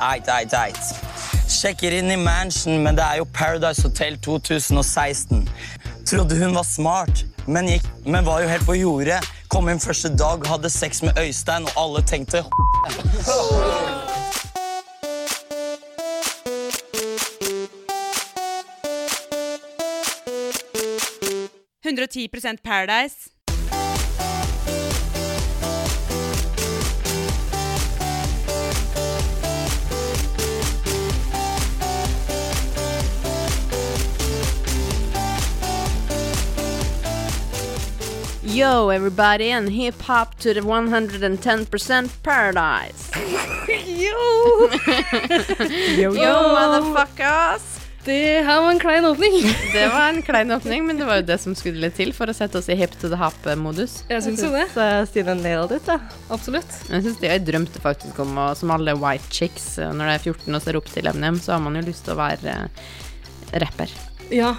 Eit, eit, eit. Sjekker inn i Mansion, men det er jo Paradise Hotel 2016. Trodde hun var smart, men, gikk, men var jo helt på jordet. Kom inn første dag, hadde sex med Øystein, og alle tenkte det. 110 Paradise. Yo, everybody, and hip hop to the 110% paradise. Yo! Yo, motherfuckers! Det her var en klein åpning. Det var en klein åpning, men det var jo det som skulle litt til for å sette oss i hip to the hop-modus. Jeg syns jo det. Så eh, Steven nailed it, da. Absolutt. Jeg synes det, jeg drømte faktisk om å, som alle white chicks, eh, når det er 14 og ser opp til Eminem, så har man jo lyst til å være eh, rapper. Ja.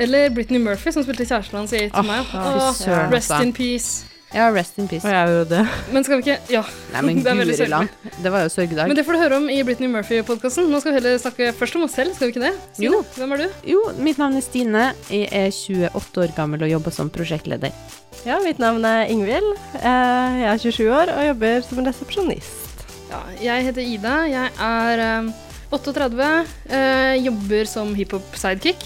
Eller Britney Murphy, som spilte kjæresten hans i It's Åh, Mouth. Ah, fy Åh, søren, Rest altså. in peace. Ja, rest in peace. Og jeg er jo det. Men skal vi ikke Ja. Nei, men Det er veldig guri land. Det var jo sørgedag. Men det får du høre om i Britney Murphy-podkasten. Nå skal vi heller snakke først om oss selv, skal vi ikke det? Stine, Jo. Hvem er du? Jo, mitt navn er Stine. Jeg er 28 år gammel og jobber som prosjektleder. Ja, mitt navn er Ingvild. Eh, Jeg er 27 år og jobber som en resepsjonist. Ja, jeg heter Ida. Jeg er eh, 38. eh, jobber som hiphop-sidekick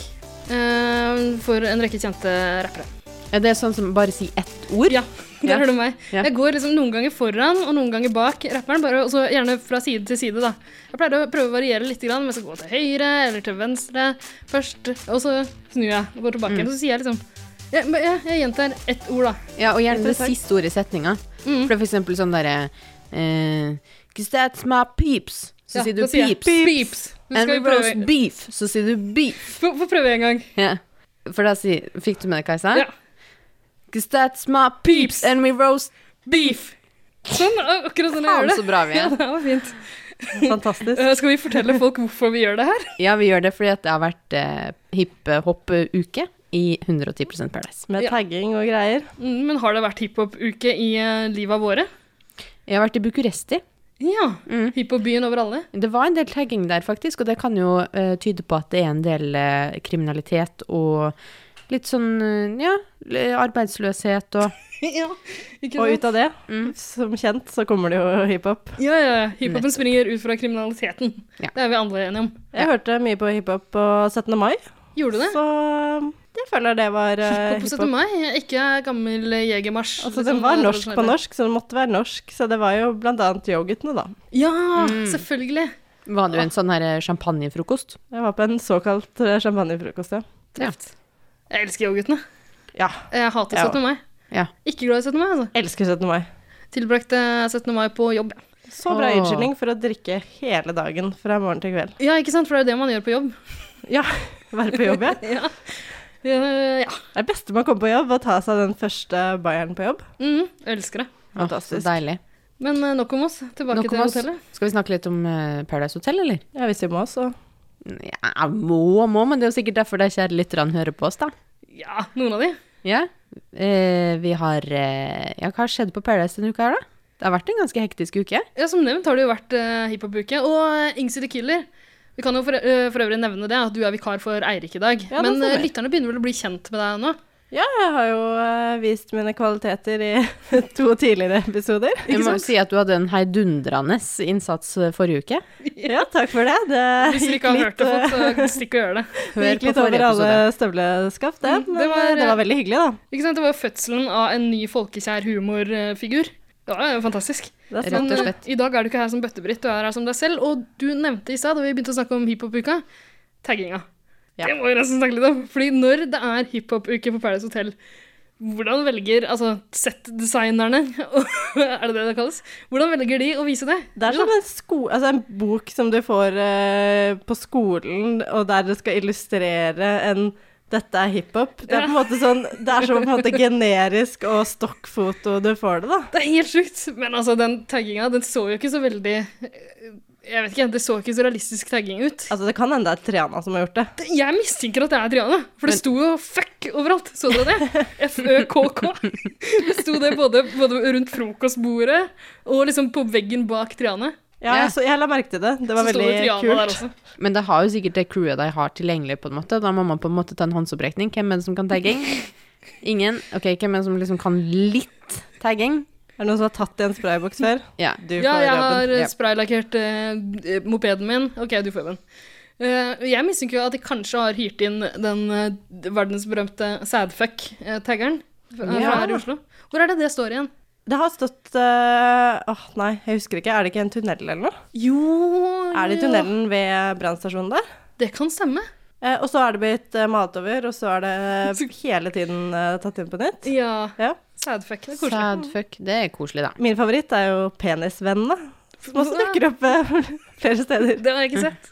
eh, for en rekke kjente rappere. Er det sånn som bare si ett ord? Ja, der Ja. har du meg. Ja. Jeg går liksom noen ganger foran og noen ganger bak rapperen, bare, og så gjerne fra side til side. da. Jeg pleier å prøve å variere litt, grann, men så gå til høyre eller til venstre først. Og så snur jeg og går tilbake Mm. igjen. Så sier jeg liksom jeg, jeg, jeg gjentar ett ord, da. Mm. Ja, og gjerne det Takk. siste ordet i setninga. For det er for eksempel sånn derre eh, Cause that's my peeps. Så Ja, sier du da sier jeg peeps. Peeps. Nå And skal we vi roast prøve. beef. Så sier du beef. Få få prøve en gang. Ja. For da sier Fikk du med deg, Kajsa? Ja. Cause that's my peeps, Peeps. and we roast Beef. Sånn, ak- akkurat sånn jeg Faen, gjør så det. bra vi Ja, er. det var fint. Fantastisk. Eh, Skal vi fortelle folk hvorfor vi gjør det her? Ja, vi gjør det fordi at det har vært eh, hiphop-uke i 110 Paradise. Med Ja. tagging og greier. Mm, Men har det vært hiphop-uke i eh, livet våre? Jeg har vært i Bucuresti. Ja. Mm. Hiphop-byen over alle. Det var en del tagging der, faktisk, og det kan jo eh, tyde på at det er en del eh, kriminalitet og litt sånn eh, ja, l- arbeidsløshet og ja, ikke Og sant? ut av det, Mm. som kjent, så kommer det jo hiphop. Ja, ja, ja. Hiphopen springer ut fra kriminaliteten. Ja. Det er vi alle enige om. Jeg hørte mye på hiphop på 17. mai, Gjorde du det? så eh, jeg føler det var eh, Hiphop på 17. hiphop. mai? Ikke gammel jegermarsj. Altså, liksom, den var eh, norsk på tradisjonelle. norsk, så den måtte være norsk. Så det var jo blant annet yoghurtene, da. Ja, Mm. selvfølgelig. Var det jo en sånn her eh, champagnefrokost? Jeg var på en såkalt eh, champagnefrokost, ja. Ja. Jeg elsker yoghurtene. Ja. Jeg hater Ja. 17. mai. Ja. Ikke glad i 17. mai, altså. Elsker 17. mai. Tilbrakte 17. mai på jobb. ja. Så bra Åh. unnskyldning for å drikke hele dagen fra morgen til kveld. Ja, ikke sant? For det er jo det man gjør på jobb. Ja, være på jobb, ja. ja. Eh, ja. Det er det beste med å komme på jobb og ta seg den første bayeren på jobb. Mm, jeg elsker det. Åh, så Fantastisk. deilig. Men eh, nok om oss. Tilbake Nok om til oss. hotellet. Skal vi snakke litt om eh, Paradise Hotel, eller? Ja, hvis vi må, så. Ja, må, må, men det er jo sikkert derfor de kjære lytterne hører på oss, da. Ja, noen av de. Ja. Eh, vi har eh, Ja, hva har skjedd på Paradise denne uka her, da? Det har vært en ganske hektisk uke. Ja, Som nevnt har det jo vært uh, hiphop-uke. Og eh, Ingsy the Killer. Vi kan jo for, eh, for øvrig nevne det, at du er vikar for Eirik i dag. Ja, det Men eh, stemmer. lytterne begynner vel å bli kjent med deg nå? Ja, jeg har jo eh, vist mine kvaliteter i to tidligere episoder. Jeg må jo si at du hadde en heidundrende innsats eh, forrige uke. Ja, takk for det. Det Hvis dere gikk ikke har hørt litt, det, eh, folk, så stikk og gjør det. det Hør gikk på litt over forrige alle episode. støvleskaft, det. Mm, Men det det var, var, det eh, var veldig hyggelig, da. Ikke sant? Det var fødselen av en ny folkekjær humorfigur. Det var jo fantastisk. Det er sånn, Rett og Men eh, slett. i dag er du ikke her som Bøtte-Britt, du er her som deg selv. Og du nevnte i stad, da vi begynte å snakke om hiphop-uka, tagginga. Ja. Det må vi nesten snakke litt om. Fordi når det er hiphop-uke på Paradise Hotel, hvordan velger altså settdesignerne Er det det det kalles? Hvordan velger de å vise det? Det er sånn. som en, sko altså en bok som du får eh, på skolen, og der det skal illustrere en 'dette er hiphop'. Det er på en måte sånn, det er så på en måte generisk og stokkfoto du får det, da. Det er helt sjukt. Men altså, den tagginga, den så jo ikke så veldig eh, Jeg vet ikke, det så ikke så realistisk tagging ut. Altså, det kan hende det er Triana som har gjort det. Det- Jeg mistenker at det er Triana, for det sto jo 'fuck' overalt. Så dere det? F-ø-k-k. Det sto det både, både rundt frokostbordet og liksom på veggen bak Triane. Ja, Ja. så jeg la merke til det. Det var Så sto veldig det Triana der kult. også. Men det har jo sikkert det crewet de har tilgjengelig, på en måte. Da må man på en måte ta en håndsopprekning. Hvem er det som kan tagging? Ingen? Ok, hvem er det som liksom kan litt tagging? Er det noen som har tatt i en sprayboks før? Ja. Du Ja, får jeg jobben. har eh, Ja. spraylakkert eh, mopeden min. Ok, du får jobben. Eh, jeg mistenker jo at de kanskje har hyrt inn den eh, verdensberømte sadfuck-taggeren fra Ja. eh, her i Oslo. Hvor er det det står igjen? Det har stått eh, Åh, nei, jeg husker ikke. Er det ikke en tunnel eller noe? Jo Er det i tunnelen ved brannstasjonen der? Det kan stemme. Eh, og så er det blitt eh, malt over, og så er det hele tiden eh, tatt inn på nytt. Ja. Ja. Sadfuck. Det er koselig. Sadfuck. Det er koselig, da. Min favoritt er jo penisvennene, som også dukker opp eh, flere steder. Det har jeg ikke sett.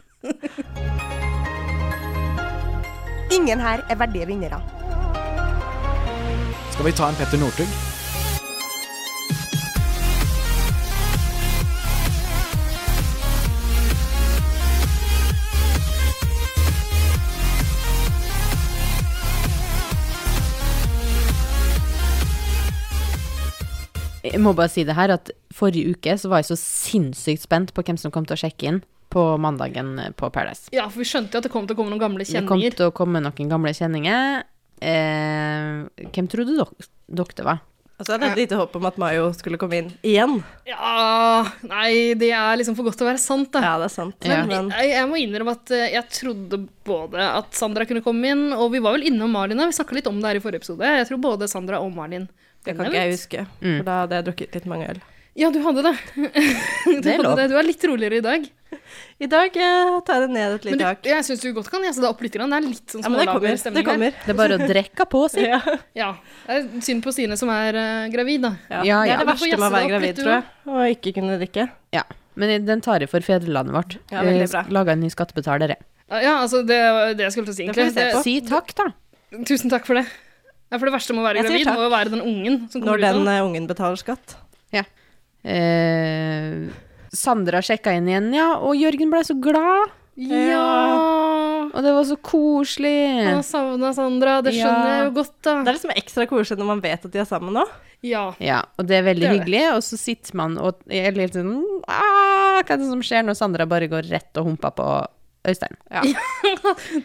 Ingen her er verdige vinnere. Skal vi ta en Petter Northug? Jeg må bare si det her, at forrige uke så var jeg så sinnssykt spent på hvem som kom til å sjekke inn på mandagen eh, på Paradise. Ja, for vi skjønte jo at det kom til å komme noen gamle Det kom kjenninger. til å komme noen gamle kjenninger. Eh, hvem trodde dere dere det var? Og så er det et lite håp om at Mayo skulle komme inn igjen. Ja Nei, det er liksom for godt til å være sant, da. Ja, det er sant. Ja. Men Jeg, jeg må innrømme at eh, jeg trodde både at Sandra kunne komme inn, og vi var vel innom Malin da. Vi snakka litt om det her i forrige episode. Jeg tror både Sandra og Malin det kan ikke jeg huske, Mm. for da hadde jeg drukket litt mange øl. Ja, du hadde det. du, Det er hadde lov. det. du er litt roligere i dag. I dag eh, tar jeg det ned et Men lite du, hakk. jeg syns du godt kan jazze deg opp litt. Grann. Det er litt sånn Ja, men det smålager kommer. Det stemning her. kommer. Det er bare å drekke på seg. Ja. Ja. Det er synd på Stine som er eh, gravid, da. Ja, Ja. Det ja. er det Du får verste med å jazze deg opp være litt, gravid, du tror jeg. Å ikke kunne drikke. Ja. Men den tar jeg for fedrelandet vårt. Ja, veldig bra. Eh, Eh, Laga en ny skattebetaler. jeg. Ja, altså, det var det jeg skulle til å si, Det får vi egentlig. se på. Det, Si takk, da. tusen takk for det. Ja, for det verste med å være Jeg sier gravid takk. må jo være den ungen som kommer Når ut den sånn. av det. eh, ungen betaler skatt. Eh, Sandra sjekka inn igjen, ja. Og Jørgen ble så glad. eh, Ja! Og det var så Jeg koselig. savna Sandra. Det Ja. skjønner jeg jo godt, Det da. er liksom ekstra koselig når man vet at de er sammen nå. Ja. Ja, og det er veldig Det er det. hyggelig. Og så sitter man og er litt sånn «Ah, Hva er det som skjer når Sandra bare går rett og humper på Øystein? Det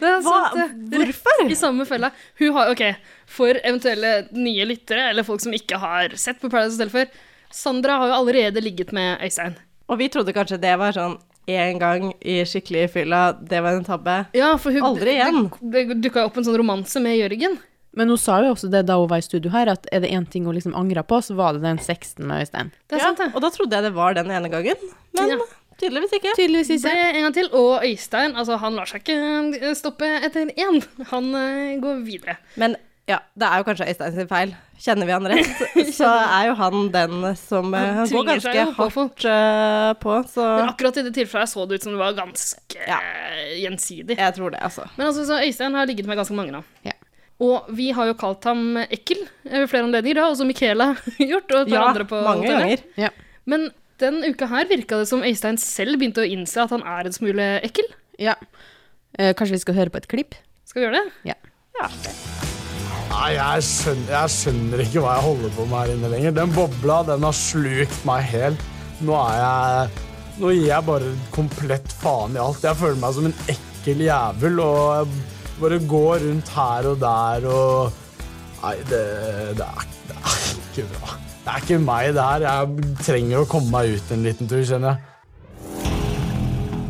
er Hva? sant, det. Hvorfor? I samme fella. Hun har, ok, For eventuelle nye lyttere, eller folk som ikke har sett på Paradise Hotel før, Sandra har jo allerede ligget med Øystein. Og vi trodde kanskje det var sånn én gang i skikkelig fylla, det var en tabbe. Ja, for hun, Aldri igjen. Det, det dukka jo opp en sånn romanse med Jørgen. Men hun sa jo også det da hun var i studio her, at er det én ting hun liksom angrer på, så var det den sexen med Øystein. Det er Ja, sant, det. Og da trodde jeg det var den ene gangen, men Ja. tydeligvis ikke. Tydeligvis Det ikke. en gang til. Og Øystein altså, han lar seg ikke eh, stoppe etter én. Han eh, går videre. Men ja, det er jo kanskje Øystein sin feil. Kjenner vi han rett, så er jo han den som eh, Han Han går tvinger seg ganske jo på folk. hardt eh, på, så Men akkurat i det tilfellet her så det ut som det var ganske Ja. eh, gjensidig. jeg tror det, altså. Men altså, så Øystein har ligget med ganske mange nå. Ja. Og vi har jo kalt ham ekkel eh, ved flere anledninger, da, og som Michaela har gjort. Og et par Ja, andre på mange hotellet. ganger. Ja. Men den uka her virka det som Øystein selv begynte å innse at han er en smule ekkel. ja. Eh, kanskje vi skal høre på et klipp? Skal vi gjøre det? Ja. Nei, jeg skjønner, jeg skjønner ikke hva jeg holder på med her inne lenger. Den bobla, den har slukt meg helt. Nå er jeg Nå gir jeg bare komplett faen i alt. Jeg føler meg som en ekkel jævel og jeg bare går rundt her og der og Nei, det, det, er, det er ikke bra. Det er ikke meg, det her. Jeg trenger å komme meg ut en liten tur, kjenner jeg.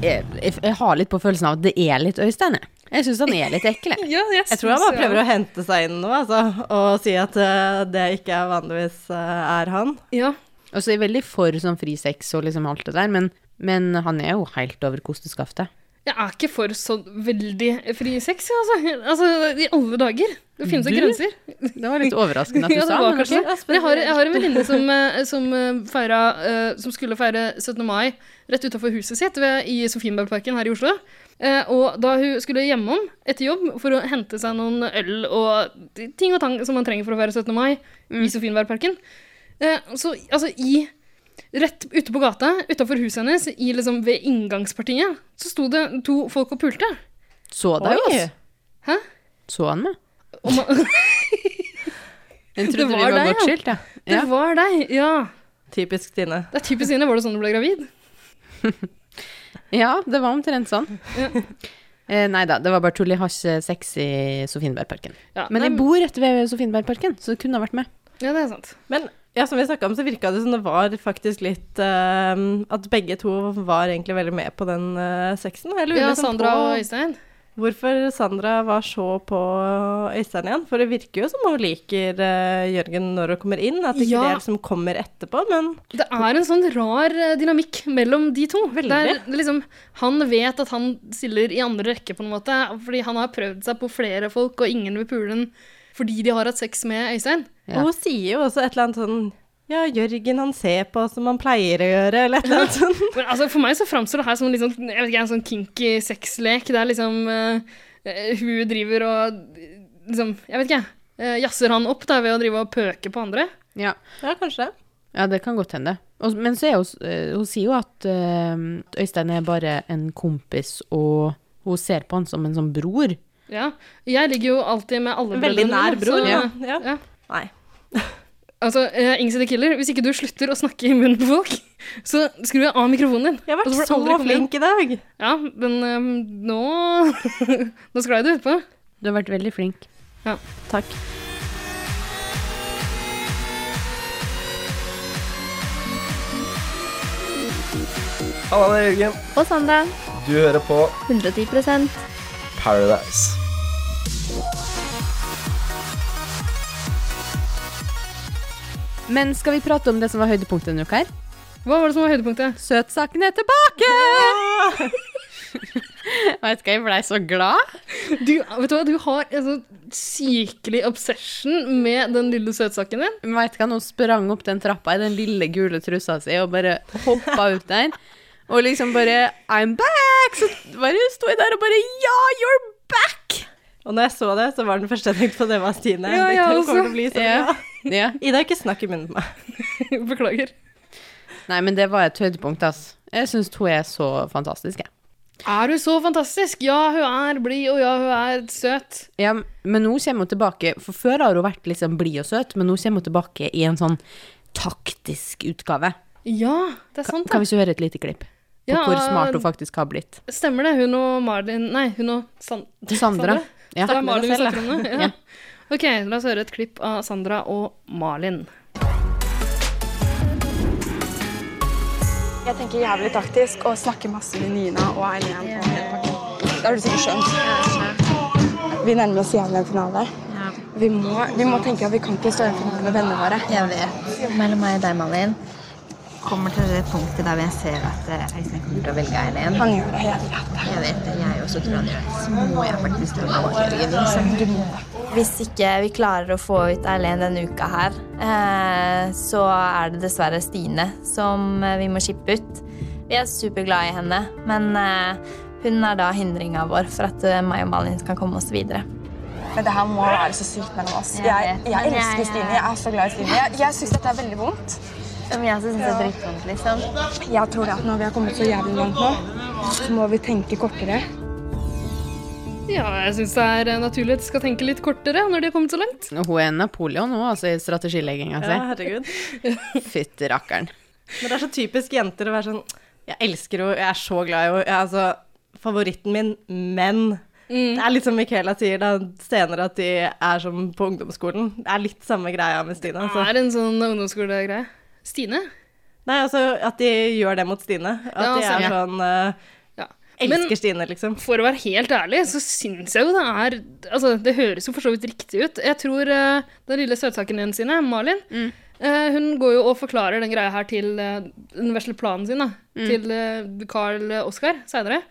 Jeg, jeg, jeg har litt på følelsen av at det er litt Øystein, jeg. Jeg syns han er litt ekkel, jeg. Jeg tror han bare prøver å hente seg inn nå, altså, og si at eh, det ikke er vanligvis eh, er han. Ja. Og så er jeg veldig for sånn fri sex og liksom alt det der, men, men han er jo helt over kosteskaftet. Jeg er ikke for så veldig fri sex, jeg, altså. altså. I alle dager. Det finnes jo Du? grenser. Det var litt overraskende at du Ja, det sa altså. var men kanskje ok. det. Men jeg har, jeg har en venninne som, eh, som, eh, feira, eh, som skulle feire 17. mai rett utafor huset sitt ved, i Sofienbergparken her i Oslo. Eh, og da hun skulle hjemom etter jobb for å hente seg noen øl og ting og tang som man trenger for å feire 17. mai i Sofienbergparken, eh, så altså i Rett ute på gata, utafor huset hennes, i, liksom, ved inngangspartiet, så sto det to folk og pulte. Så deg jo, altså. Hæ? Så han meg? Og man, Jeg Det trodde vi var var deg, ja. bortskilt, ja. det ja. var deg! Ja. Typisk Stine. Det er typisk Stine. Var det sånn du ble gravid? Ja, det var omtrent sånn. Eh, nei da, det var bare tull. Jeg har ikke sex i Sofienbergparken. Ja, Men nei, jeg bor rett ved Sofienbergparken, så det kunne ha vært med. Ja, det er sant. Men ja, som vi snakka om, så virka det som det var faktisk litt eh, At begge to var egentlig veldig med på den eh, sexen. Jeg lurer Ja, liksom Sandra på og Øystein. hvorfor Sandra var så på Øystein igjen. For det virker jo som hun liker eh, Jørgen når hun kommer inn. At ikke Ja. det liksom kommer etterpå, men Det er en sånn rar eh, dynamikk mellom de to. Der, det liksom, han vet at han stiller i andre rekke, på en måte, fordi han har prøvd seg på flere folk, og ingen vil pule den fordi de har hatt sex med Øystein. Ja. Og hun sier jo også et eller annet sånn Ja, Jørgen han ser på som han pleier å gjøre, eller et eller annet sånn. sånt. Men altså, for meg så framstår det her som en litt sånn, jeg vet ikke, en sånn kinky sexlek, der liksom eh, hun driver og eh, liksom, jeg vet ikke, eh, jazzer han opp da, ved å drive og pøke på andre. Ja, Ja, kanskje. ja det kan godt hende. Og, men så er hun, s- eh, hun sier jo at eh, at Øystein er bare en kompis, og hun ser på han som en sånn bror. Ja. Jeg ligger jo alltid med alle Veldig brødrene, nær så- bror. sånn, ja. ja. Nei. Altså, eh, Ingsid the Killer, hvis ikke du slutter å snakke i munnen på folk, så skrur jeg av mikrofonen din. Jeg har Og vært får du så aldri komme inn. flink i dag. Ja, men eh, nå Nå sklei du utpå. Du har vært veldig flink. Takk. Halla, det er Jørgen. Og Sandra, Du hører på 110 Paradise. Men skal vi prate om det som var høydepunktet denne uka her? Hva var det som var høydepunktet? Søtsaken er tilbake! Vet ikke, jeg blei så glad. Du, vet du hva, du har en sånn sykelig obsession med den lille søtsaken din. Vet ikke, hun sprang opp den trappa i den lille gule trussa si og bare hoppa ut der. Og liksom bare I'm back! Så bare sto jeg der og bare Ja, you're back! Og når jeg så det, så var den første jeg tenkte på, det var Stine. Ja, Det jeg kan- også. kommer til å bli sånn, Ja. ja. Ja. Ida, ikke snakk i munnen på meg. Beklager. Nei, men det var et høydepunkt, ass. Jeg syns hun er så fantastisk, jeg. Er du så fantastisk? Ja, hun er blid, og ja, hun er søt. Ja, men nå kommer hun tilbake For før har hun vært liksom blid og søt, men nå kommer hun tilbake i en sånn taktisk utgave. Ja, det er sant, Kan da. vi ikke høre et lite klipp på Ja, hvor smart hun faktisk har blitt? Stemmer det. Hun og Marlin Nei, hun og San... Sandra. Ja. Det er Marlin vi selv, snakker om det. Ja. Ok, la oss høre et klipp av Sandra og Marlin. Jeg tenker jævlig taktisk og snakker masse med Nina og Eileen. på hele pakken. Det har du sikkert skjønt. Vi nærmer oss jævlig en finale. Vi må, vi må tenke at vi kan ikke stå i en finale med vennene våre. Jeg vet. Mellom meg og deg, Malin, kommer til det punktet der jeg ser at eh, Øystein kommer til å velge Eileen. Han gjør det hele rett. Jeg vet det, jeg også tror han gjør det. Så må jeg faktisk tro på Jørgen. Hvis ikke vi klarer å få ut Eileen denne uka her, eh, så er det dessverre Stine som eh, vi må skippe ut. Vi er superglade i henne, men eh, hun er da hindringa vår for at eh, meg og Malin kan komme oss videre. Men det her må være så sykt mellom oss. Jeg Jeg, vet, jeg men elsker jeg- Stine. Jeg er så glad i Stine. Jeg, jeg syns dette er veldig vondt. Men jeg syns det er dritvondt, liksom. Jeg tror at når vi har kommet så jævlig langt nå, så må vi tenke kortere. Ja, jeg syns det er eh, naturlig at de skal tenke litt kortere når de har kommet så langt. Hun er Napoleon nå, altså i strategilegginga Ja, si. herregud. Fytti rakkeren. Men det er så typisk jenter å være sånn Jeg elsker henne, jeg er så glad i henne. Jeg er altså favoritten min, men Mm. Det er litt som Michaela sier da, senere, at de er som på ungdomsskolen. Det er litt samme greia med Stine. Det Altså. er en sånn ungdomsskolegreie. Stine? Nei, altså at de gjør det mot Stine. At Ja, de altså, er ja. sånn eh, Ja. Elsker Stine, liksom. For å være helt ærlig, så syns jeg jo det er Altså, det høres jo for så vidt riktig ut. Jeg tror eh, den lille søtsaken din sine, Malin, Mm. eh, hun går jo og forklarer den greia her til eh, den vesle planen sin, da. Mm. Til eh, Carl Oskar seinere.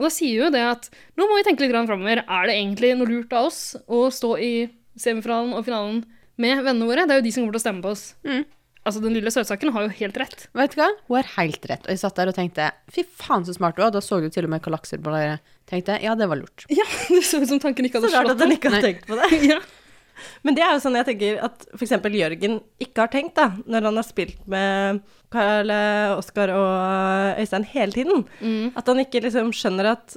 Og da sier jo det at nå må vi tenke litt framover. Er det egentlig noe lurt av oss å stå i semifinalen og finalen med vennene våre? Det er jo de som kommer til å stemme på oss. Mm. Altså, den lille søtsaken har jo helt rett. Vet du hva? Hun har helt rett. Og jeg satt der og tenkte fy faen så smart hun var. Da så du til og med hva lakser på dere. Tenkte ja, det var lurt. Ja, det så ut som tanken ikke Så hadde rart slått at hun ikke har tenkt på det. Ja. Men det er jo sånn jeg tenker at f.eks. Jørgen ikke har tenkt, da, når han har spilt med Karl eh, Oskar og eh, Øystein hele tiden. Mm. At han ikke liksom skjønner at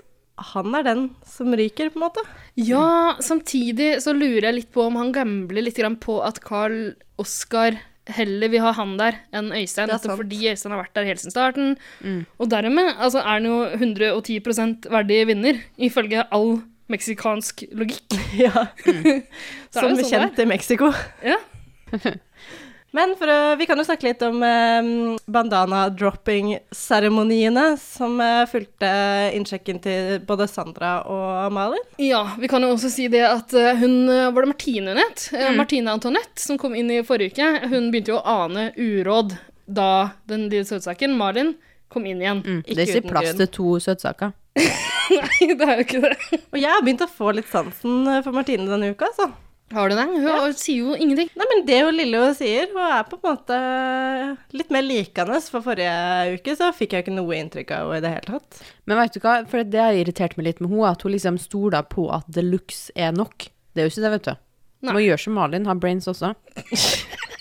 han er den som ryker, på en måte. Ja, samtidig så lurer jeg litt på om han gambler litt grann på at Carl Oskar heller vil ha han der enn Øystein. Det er sant. Nettopp Mm. fordi Øystein har vært der helt siden starten. Og dermed altså, er han jo 110 verdig vinner, ifølge all meksikansk logikk. Ja. Så er Som det sånn kjent i Mexico. Ja. Men for, å- vi kan jo snakke litt om eh, bandana-dropping-seremoniene som eh, fulgte innsjekken til både Sandra og Malin. Ja, vi kan jo også si det at eh, hun eh, Var det Martine hun het? Eh, Mm. Martine Antoinette, som kom inn i forrige uke. Hun begynte jo å ane uråd da den lille søtsaken, Malin, kom inn igjen. Det er ikke plass til to søtsaker. Nei, det er jo ikke det. Og jeg har begynt å få litt sansen eh, for Martine denne uka, altså. Har du det? Hun sier jo ingenting. Nei, men det hun lille hun sier, hun er på en måte litt mer likende. For forrige uke så fikk jeg ikke noe inntrykk av henne i det hele tatt. Men vet du hva, for det har irritert meg litt med henne, at hun liksom stoler på at deluxe er nok. Det er jo ikke det, vet du. Nei. Må gjøre som Malin, ha brains også.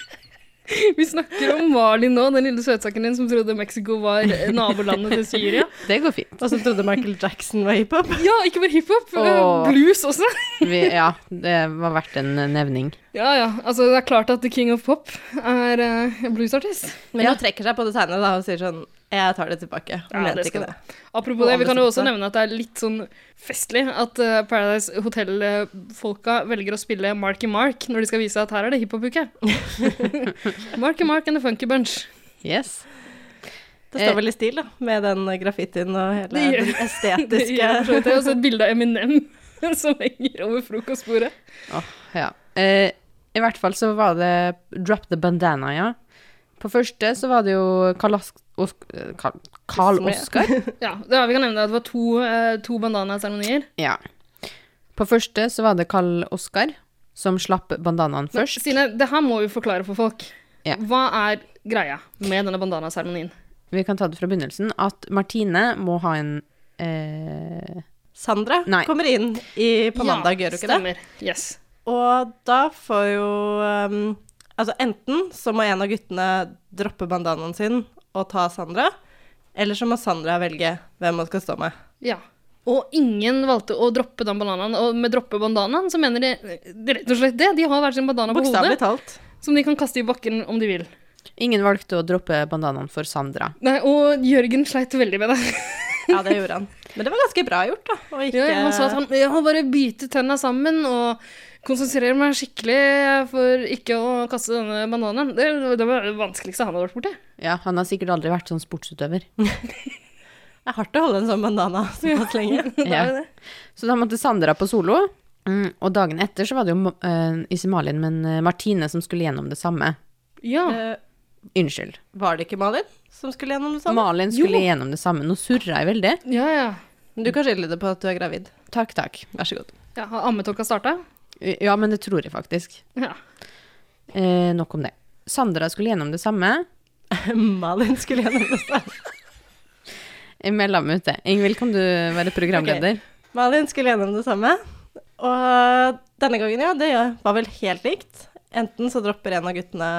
Vi snakker om Malin nå, den lille søtsaken din som trodde Mexico var eh, nabolandet til Syria. Det går fint. Og så trodde Michael Jackson var hiphop. Ja, ikke bare hiphop, eh, Åh. blues også. Vi, ja, det var verdt en nevning. Ja, ja. Altså, det er klart at The King of Pop er eh, bluesartist. Men hun trekker seg på det tegnet da, og sier sånn Jeg tar det tilbake. Hun Ja, mente det skal- ikke det. Apropos det, vi kan jo også nevne at det er litt sånn festlig at eh, Paradise Hotel-folka velger å spille Marky Mark når de skal vise at her er det hiphop-uke. Marky Mark and the Funky Bunch. Yes. Det står vel i stil, da, med den graffitien og hele Det gjør- den Det gjør for så vidt. Jeg estetiske har også et bilde av Eminem som henger over frokostbordet. Åh, ja. Eh, I hvert fall så var det Drop the bandana, ja. På første så var det jo Karl, Ask Os eh, Karl, Karl Oskar. ja, det ja, vi kan nevne at det var to, eh, to bandanaseremonier. Ja. På første så var det Karl Oskar som slapp bandanaen Men, først. Stine, det her må vi forklare for folk. Ja. Hva er greia med denne bandanaseremonien? Vi kan ta det fra begynnelsen. At Martine må ha en eh, Sandra Nei. kommer inn i, på mandag, gjør hun ikke det? stemmer. Yes. Og da får jo um, Altså enten så må en av guttene droppe bandanaen sin og ta Sandra, eller så må Sandra velge hvem hun skal stå med. Ja. Og ingen valgte å droppe den bananen. Og med droppe bandanaen så mener de de rett og slett det. De har hver sin bandana på Bokstavelig hodet talt. som de kan kaste i bakken om de vil. Ingen valgte å droppe bandanaen for Sandra. Nei, og Jørgen sleit veldig med det. Ja, det gjorde han. Men det var ganske bra gjort, da. Og ikke Ja, han sa at han jeg må bare bite tenna sammen og konsentrere meg skikkelig for ikke å kaste denne bananen. Det, det var det vanskeligste han hadde vært borti. Ja, han har sikkert aldri vært sånn sportsutøver. Det er hardt å holde en sånn bandana såpass lenge. Ja. Så da måtte Sandra på solo. Mm, og dagen etter så var det jo uh, ikke Malin, men eh, Martine som skulle gjennom det samme. Ja. Eh, Unnskyld. Var det ikke Malin som skulle gjennom det samme? Malin skulle gjennom det samme. Nå surra jeg veldig. Ja, ja. Men Du kan skylde det på at du er gravid. Takk, takk. Vær så god. ja har ammetåka starta? Ja, men det tror jeg faktisk. Ja. Eh, nok om det. Sandra skulle gjennom det samme. Malin skulle gjennom det samme. Jeg melder meg ute. Ingvild, kan du være programleder? Malin skulle gjennom det samme. Og denne gangen, ja, det var vel helt likt. Enten så dropper en av guttene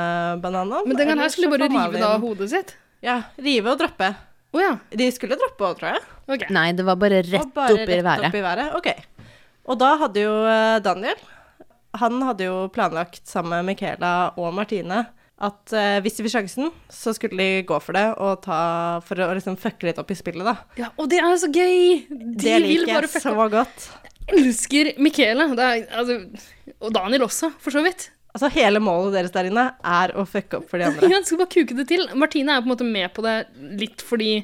bananen. Men den gangen eller her skulle så de bare får rive det Malin- av hodet sitt. Ja, rive og droppe. Å ja. De skulle droppe òg, tror jeg. Ok. Nei, det var bare Og rett bare opp i rett været. Opp i været. Ok. Og da hadde jo eh, Daniel Han hadde jo planlagt sammen med Michaela og Martine at eh, hvis de fikk sjansen, så skulle de gå for det og ta For å liksom fucke litt opp i spillet, da. ja. Og det er så gøy! De det vil liker bare jeg fucke så godt. elsker Michele. Det er, altså, og Daniel også, for så vidt. Altså, hele målet deres der inne er å fucke opp for de andre. Jeg skal bare kuke det til. Martine er på en måte med på det litt fordi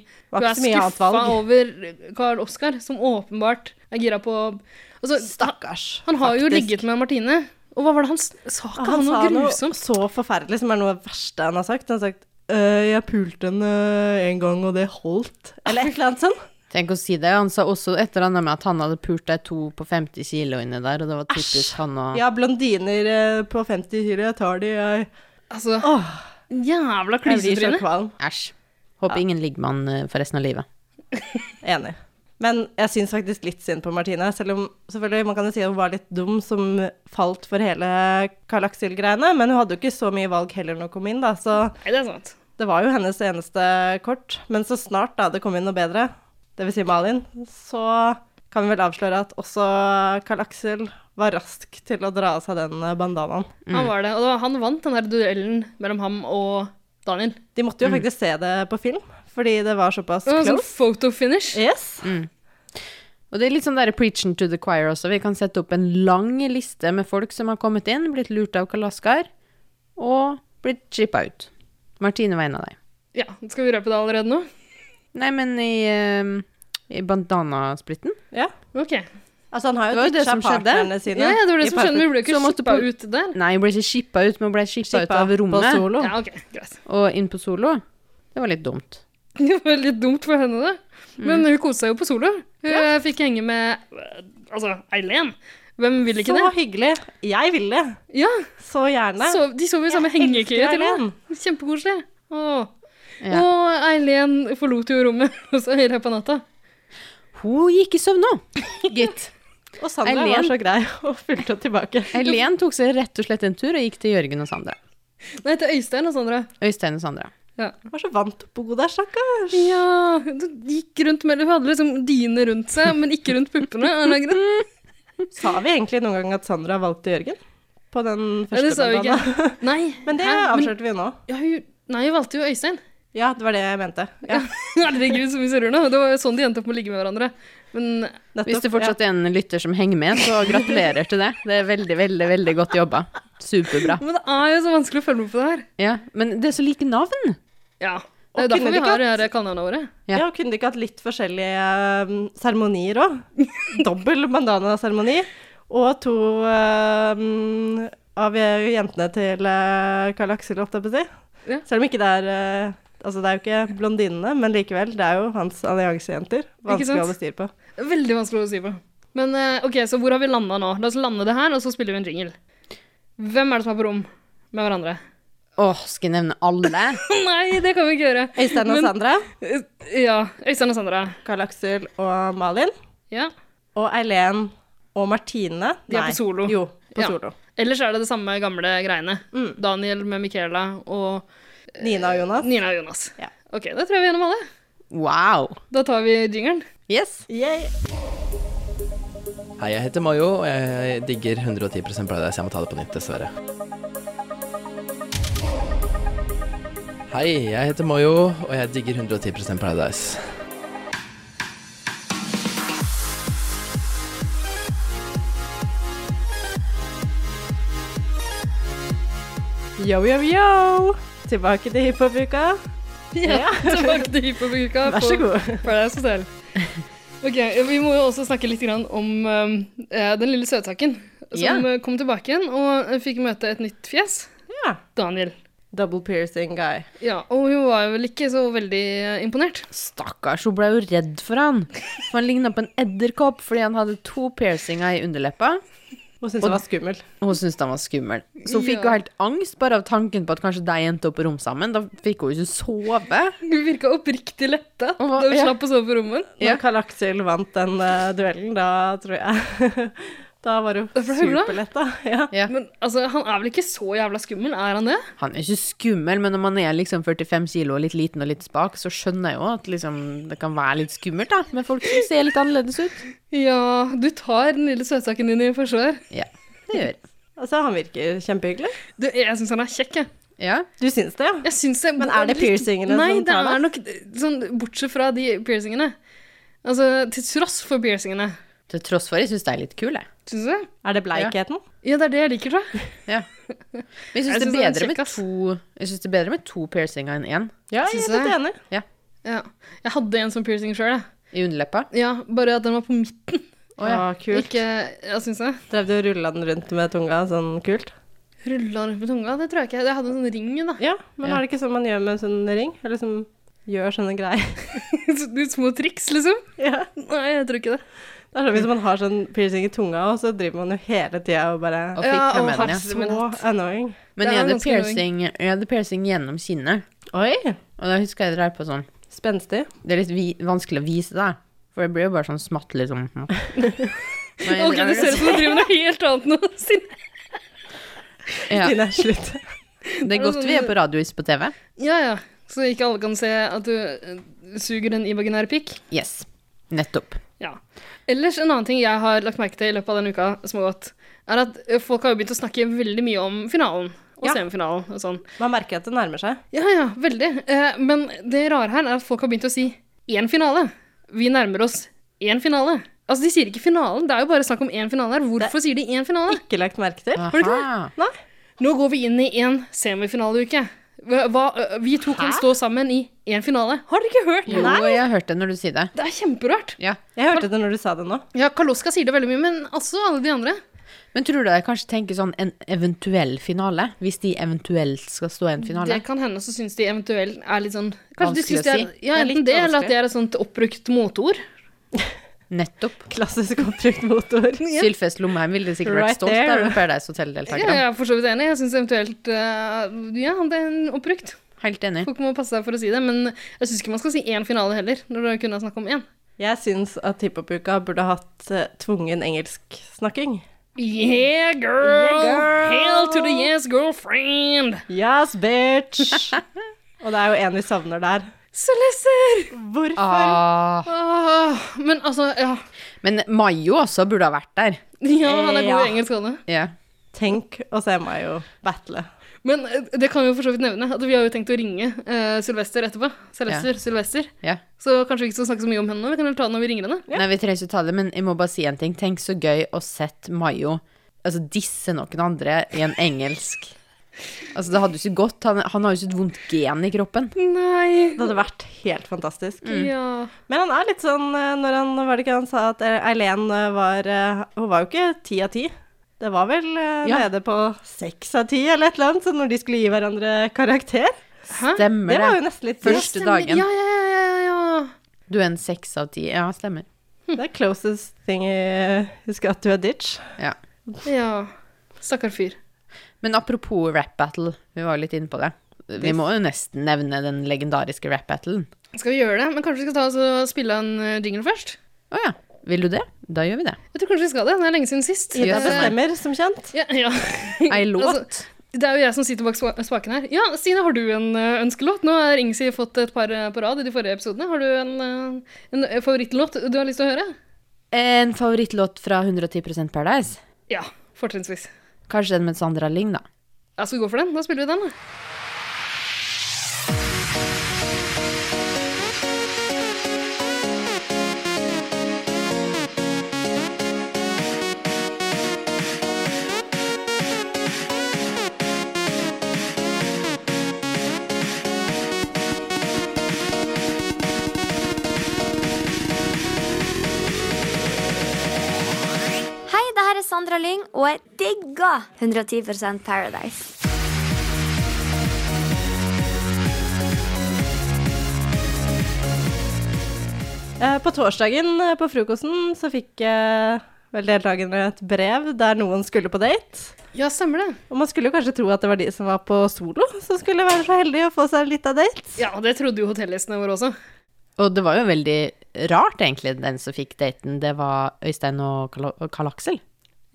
hun Var ikke er så mye annet skuffa valg. over Carl Oskar, som åpenbart er gira på altså, Stakkars. Han har jo faktisk. ligget med Martine. Og hva var det han s- sa? Ikke han noe grusomt? så forferdelig som er noe av det verste han har sagt. Han har sagt «Øh, 'Jeg pulte henne en gang, og det holdt', eller et eller annet sånt. Tenk å si det. Han sa også et eller annet med at han hadde pult deg to på 50 kilo inni der, og det var typisk han å Ja, blondiner eh, på 50 kilo, jeg tar de, jeg Altså, Åh, jævla jeg blir så klysetryne. kvalm. Æsj. Håper ingen ligger med han eh, for resten av livet. Enig. Men jeg syns faktisk litt synd på Martine, selv om selvfølgelig man kan jo si hun var litt dum som falt for hele Karl Aksel-greiene, men hun hadde jo ikke så mye valg heller når hun kom inn, da, så Nei, det er sant. Det var jo hennes eneste kort, men så snart da det kom inn noe bedre, dvs. Si Malin, så kan vi vel avsløre at også Karl Aksel var rask til å dra av seg den eh, bandanaen. Han var det. Og det var, han vant den her duellen mellom ham og Daniel. De måtte jo faktisk se det på film, fordi det var såpass Mm. Det var sånn Mm. close. photo finish. Yes. Og det er litt sånn der preaching to the choir også. Vi kan sette opp en lang liste med folk som har kommet inn, blitt lurt av Kalaskar og blitt chippa ut. Martine var en av dem. Ja, Skal vi røpe det allerede nå? Nei, men i, uh, i bandanasplitten Ja. Ok. Altså, han har Det jo var jo det ditcha som skjedde. partnerne sine. Ja, ja, det var det i som skjedde. Vi partner- ble ikke Så måtte shippa på- ut der. Nei, hun ble ikke shippa ut, men hun ble shippa ut Skippa av På rommet solo. Ja, ok, greit. og inn på solo. Det var litt dumt. Det var litt dumt for henne, da. Mm. Men hun koste seg jo på solo. Hun eh, fikk henge med eh, altså, Eileen. Hvem vil ikke Så det? hyggelig. Jeg vil det. Ja, Så gjerne. så, De sov i samme hengekøye elsker til og Eileen. med. Kjempekoselig. Åh. Ja. Og Eileen forlot jo rommet også i løpet av natta. Hun gikk i søvn nå, gitt. Og Sandra Eileen. var så grei og fulgte opp tilbake. Helen tok seg rett og slett en tur og gikk til Jørgen og Sandra. Nei, til Øystein og Sandra. Øystein og Sandra. Hun var så vant til å bo der, stakkars. Ja, hun gikk rundt med Hun hadde liksom dyne rundt seg, men ikke rundt puppene. av en eller annen grunn. Sa vi egentlig noen gang at Sandra valgte Jørgen? På den Nei, første det sa hun bandanen? ikke. Nei, Men det hæ? Men- avslørte vi nå. ja, hun, nei, hun valgte jo Øystein. Ja, det var det jeg mente. Ja, Herregud, så mye surrer nå. Det var jo sånn de endte opp med å ligge med hverandre. Men nettopp. Hvis det fortsatt er en lytter som henger med, så gratulerer til det. Det er veldig, veldig veldig godt jobba. Superbra. Men det er jo så vanskelig å følge med på det her. Ja, men det er så like navn. Ja. Det er Og jo derfor kunne vi vi har de her kallenavnene våre. ja. ja, og kunne de ikke hatt litt forskjellige ehm, seremonier òg? Dobbel bandana-seremoni. Og to ehm, av jentene til eh, Karl Aksel, holdt jeg på å si. Ja. Selv om ikke det er eh, Altså, det er jo ikke blondinene, men likevel. Det er jo hans alliansejenter. Vanskelig å sant? holde styr på. Veldig vanskelig å si på. Men eh, ok, så hvor har vi landa nå? La oss lande det her, og så spiller vi en jingle. Hvem er det som er på rom med hverandre? Åh, skal jeg nevne alle? Nei, det kan vi ikke gjøre. Øystein og Men- Sandra. Eh, Ja. Øystein og Sandra. Karl Aksel og Malin. Ja. Og Eileen og Martine. De er på solo. Jo, på Ja. solo. Ellers er det det samme gamle greiene. Mm. Daniel med Michaela og Nina og Jonas. Nina og Jonas. Ja. Ok, da tror jeg vi er gjennom alle. Wow. Da tar vi jingelen. Yes. Yay. Hei, jeg heter Mayo, og jeg digger 110 Paradise. Jeg må ta det på nytt, dessverre. Hei, jeg heter Mayo, og jeg digger 110 Paradise. Yo, yo, yo! Tilbake til hiphop-uka. Ja, tilbake til hiphop-uka. Vær så god. Paradise Hotel. Ok, Vi må jo også snakke litt grann om eh, den lille søtsaken som Ja. eh, kom tilbake igjen og eh, fikk møte et nytt fjes. Ja. Daniel. Double piercing guy. Ja, Og hun var jo vel ikke så veldig eh, imponert. Stakkars, hun ble jo redd for han. For han ligna på en edderkopp fordi han hadde to piercinger i underleppa. Hun syntes det var skummel. Og hun syntes han var skummel. Så hun fikk Ja. jo helt angst bare av tanken på at kanskje de endte opp på rom sammen. Da fikk hun jo ikke sove. Hun virka oppriktig letta Hun var- da hun ja. slapp å sove på rommet. Når Karl Aksel vant den eh, duellen, da tror jeg Da var hun Da ble hun glad. superletta. Ja. Ja. Men altså, han er vel ikke så jævla skummel, er han det? Han er ikke skummel, men når man er liksom 45 kilo og litt liten og litt spak, så skjønner jeg jo at liksom, det kan være litt skummelt da, med folk som ser litt annerledes ut. Ja, du tar den lille søtsaken din i forsvar. Ja, det gjør jeg. Altså, han virker kjempehyggelig. Du, jeg syns han er kjekk, jeg. Ja. Du syns det, ja? jeg syns det, Men er det piercingene Nei, som tar det er deg? nok sånn Bortsett fra de piercingene. Altså, til tross for piercingene. Til tross for, jeg synes det er litt kul, jeg. Syns du det? Er det bleikheten? Ja, det er det jeg liker, tror jeg. Men jeg synes, Jeg det, er synes den er bedre med kjekk, ass. to, jeg synes det er bedre med to piercinger enn én Ja, jeg Syns er litt jeg. enig. Ja. Jeg hadde en sånn piercing sjøl, jeg. i underleppa. Ja, bare at den var på midten. Å, kult. Ikke, ja, syns jeg. Drev du og rulla den rundt med tunga sånn kult? Rulla rundt med tunga, det tror jeg ikke. Jeg hadde en sånn ring, da. Ja, men Ja. er det ikke sånn man gjør med en sånn ring? Eller som gjør sånne greier? Sånne Små triks, liksom. ja. Nei, jeg tror ikke det. Det er sånn hvis man har sånn piercing i tunga, og så driver man jo hele tida og bare Og fikk ja, Ja, og med den, ja. hals. Så annoying. Men Det jeg er hadde, ganske piercing, jeg hadde piercing gjennom kinnet, Oi! og da husker jeg det der på sånn. Spenstig. Det er litt vi, vanskelig å vise da, for det blir jo bare sånn smatt liksom. Men- Ok, det ser ut som du driver med noe helt annet nå. Siden- Ja, Tine, slutt. det er godt vi er på radio, ikke på TV. Ja, ja. Så ikke alle kan se at du eh, suger en imaginær pikk. Yes, nettopp. Ja. Ellers en annen ting jeg har lagt merke til i løpet av den uka som har gått, er at eh, folk har jo begynt å snakke veldig mye om finalen og Ja. semifinalen og sånn. Man merker at det nærmer seg. Ja, ja, veldig. Eh, men det rare her er at folk har begynt å si én finale. Vi nærmer oss én finale. Altså, De sier ikke finalen, det er jo bare snakk om én finale her. Hvorfor sier de én finale? Ikke lagt merke til. Har du ikke det? Nei. Nå går vi inn i én semifinaleuke. Hva, hva- vi to kan stå sammen i én finale. Har dere ikke hørt Jo, jeg har hørt det når du sier det. Det er kjemperørt. Ja. Jeg hørte det når du sa det nå. Ja, Kaloska sier det veldig mye, men altså alle de andre. Men tror du jeg kanskje tenker sånn en eventuell finale? Hvis de eventuelt skal stå i en finale? Det kan hende så syns de eventuelt er litt sånn Kanskje de Vanskelig syns det er å si. ja, Det er enten litt det, eller at vanskelig. det er et sånt oppbrukt motord. Nettopp. Klassisk opptrykt motor. Sylfest Lomheim ville sikkert Right vært stolt there. av Paradise Ja, Hotel-deltakerne. jeg er for så vidt enig. Jeg syns eventuelt eh, Ja, det er en oppbrukt. Helt enig. Folk må passe seg for å si det, men jeg syns ikke man skal si én finale heller, når du kunne snakke om én. Jeg syns at hiphop-uka burde hatt eh, tvungen engelsksnakking. Yeah, girl! Hail to the yes, girlfriend! Yes, bitch! Og det er jo en vi savner der. Celesser! Hvorfor? Ah. Ah, men altså, ja. Men Mayo også burde ha vært der. Ja, han er god Ja. i engelsk, han er. Ja. Tenk å se meg jo battle. Men eh, det kan vi jo for så vidt nevne, at vi har jo tenkt å ringe eh, Sylvester etterpå. Celester, Sylvester. ja. Så kanskje vi ikke skal snakke så mye om henne nå, vi kan jo ta det når vi ringer henne. Nei, vi trenger ikke ta det, men jeg må bare si en ting. Tenk så gøy å sett Mayo altså, disse noen andre i en engelsk. Altså, det hadde jo ikke gått. Han, han har jo ikke et vondt gen i kroppen. Nei. Det hadde vært helt fantastisk. Mm. Ja. Men han er litt sånn eh, når han Var det ikke han sa at eh, Eileen eh, var eh, Hun var jo ikke ti av ti. Det var vel eh, Ja. nede på seks av ti eller et eller annet, så når de skulle gi hverandre karakter Hæ? Det Stemmer var jo det. nesten litt Første dagen. Ja, ja, ja, ja, ja. Du er en seks av ti. Ja, stemmer. Det er closest thing jeg husker at du er ditch. Ja. ja. Stakkar fyr. Men apropos rap battle, vi var jo litt inne på det. Vi må jo nesten nevne den legendariske rap battlen. Skal vi gjøre det? Men kanskje vi skal ta oss og spille en eh, jingle først? Å ja. Vil du det? Da gjør vi det. Jeg tror kanskje vi skal det. Det er lenge siden sist. Ja, Jeg det Eh, bestemmer, som kjent. ja, ja. Ei låt. Altså, det er jo jeg som sitter bak spa- spaken her. Ja, Stine, har du en eh, ønskelåt? Nå har Ingsi fått et par eh, på rad i de forrige episodene. Har du en, eh, en favorittlåt du har lyst til å høre? En favorittlåt fra 110 Paradise? Ja, fortrinnsvis. Kanskje den med Sandra Ling, da. Ja, skal vi gå for den? Da spiller vi den, da. Hei, det her er Sandra Lyng, og jeg digger 110 Paradise. Eh, På torsdagen eh, på frokosten så fikk eh, vel deltakerne et brev der noen skulle på date. Ja, stemmer det. Og man skulle jo kanskje tro at det var de som var på solo, som skulle være så heldige å få seg litt av date. Ja, det trodde jo hotellgjestene våre også. Og det var jo veldig rart, egentlig, den som fikk daten. Det var Øystein og Karl- og Karl Aksel.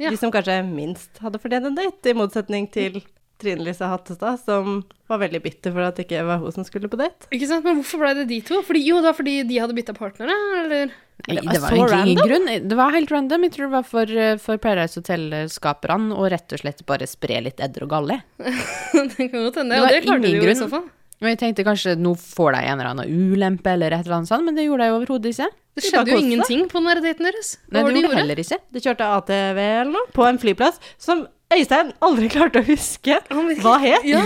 Ja. De som kanskje minst hadde fortjent en date, i motsetning til Trine Lise Hattestad, som var veldig bitter for at det ikke var hun som skulle på date. Ikke sant? Men hvorfor ble det de to? Fordi, jo, det var fordi de hadde bytta partnere, eller? Nei, var det var så egentlig ingen grunn. altså, Det var helt random. Jeg tror det var for, eh, for Paradise Hotel-skaperne å rett og slett bare spre litt edder og galle. det kan godt hende. Det Og var det klarte de ingen jo i grunn. så fall. Og jeg tenkte kanskje nå får de en eller annen ulempe eller et eller annet sånt, men det gjorde de overhodet ikke. Det De bare skjedde jo koste seg. ingenting på den der daten deres. Nei, det Hva var det de gjorde de gjorde? heller ikke. De kjørte ATV eller noe på en flyplass som Øystein aldri klarte å huske Han virker- hva het. Ja,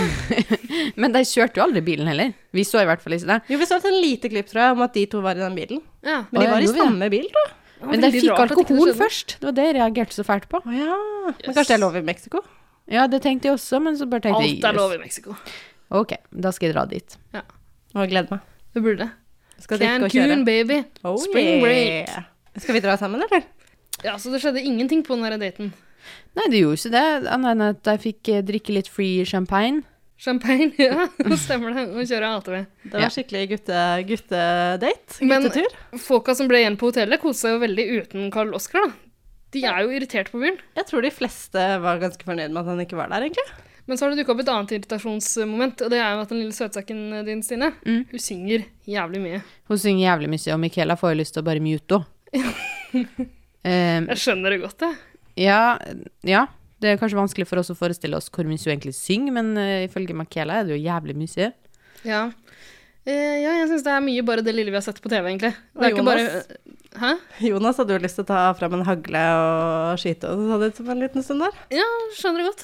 Men de kjørte jo aldri bilen heller. Vi så i hvert fall ikke det. Jo, vi så et sånn lite klipp, tror jeg, om at de to var i den bilen. ja. Men Å, de var i gjorde vi det? samme bil, da. Men de Veldig fikk rart at ikke det alkohol skjedde. først. Det var det jeg reagerte så fælt på. Å ja. Men kanskje det er lov i Mexico? Ja, det tenkte jeg også, men så bare tenkte jeg Alt er lov yes. i Mexico. Ok, da skal jeg dra dit. Å, jeg gleder meg. Det burde det. Skal drikke og kjøre. Cancun, baby. Oh, Spring break. yeah. Skal vi dra sammen, eller? Ja, så det skjedde ingenting på den der daten. Nei, det gjorde ikke det, annet enn at jeg fikk eh, drikke litt free champagne. Champagne, ja. Nå stemmer det. Nå kjører jeg ATV. Det var Ja. skikkelig gutte, guttedate. Men- Guttetur. Folka som ble igjen på hotellet, koste seg jo veldig uten Karl Oskar, da. De er jo irritert på fyren. Jeg tror de fleste var ganske fornøyd med at han ikke var der, egentlig. Men så har det dukka opp et annet irritasjonsmoment, og det er jo at den lille søtsaken din, Stine, hun synger jævlig mye. Hun synger jævlig mye, og Michaela får jo lyst til å bare mute henne. Eh, Jeg skjønner det godt, jeg. ja, ja, det er kanskje vanskelig for oss å forestille oss hvor mye hun egentlig synger, men eh, ifølge Makela er det jo jævlig mye. Ja. Eh, ja, jeg syns det er mye bare det lille vi har sett på TV, egentlig. Det Og er ikke bare Jonas. Hæ? Jonas hadde jo lyst til å ta fram en hagle og skyte og sånn ut som en liten stund der. Ja, skjønner det godt.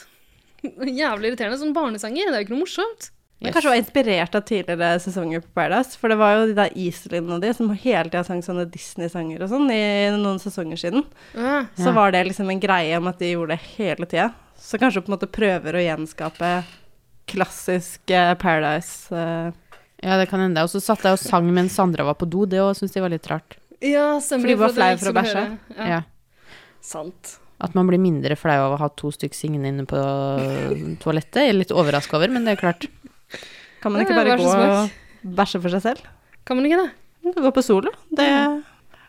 Jævlig irriterende. Sånn barnesanger, det er jo ikke noe morsomt. Men kanskje var inspirert av tidligere sesonger på Paradise. For det var jo de der Iselin og de som hele tida sang sånne Disney-sanger og sånn i noen sesonger siden. Ja. Så var det liksom en greie om at de gjorde det hele tida. Så kanskje på en måte prøver å gjenskape klassisk eh, Paradise. eh, Ja, det kan hende. Og så satt jeg og sang mens Sandra var på do, det òg syns jeg var litt rart. Ja, stemmer. For de var at det er flau ikke for å så bæsje. behørig. Ja. Ja. Sant. At man blir mindre flau av å ha to stykk singende inne på eh, toalettet, jeg er litt overraska over, men det er klart. Kan man ikke Ja, bare vær så gå snill. og bæsje for seg selv? Kan man ikke det? Man kan Gå på solo. Det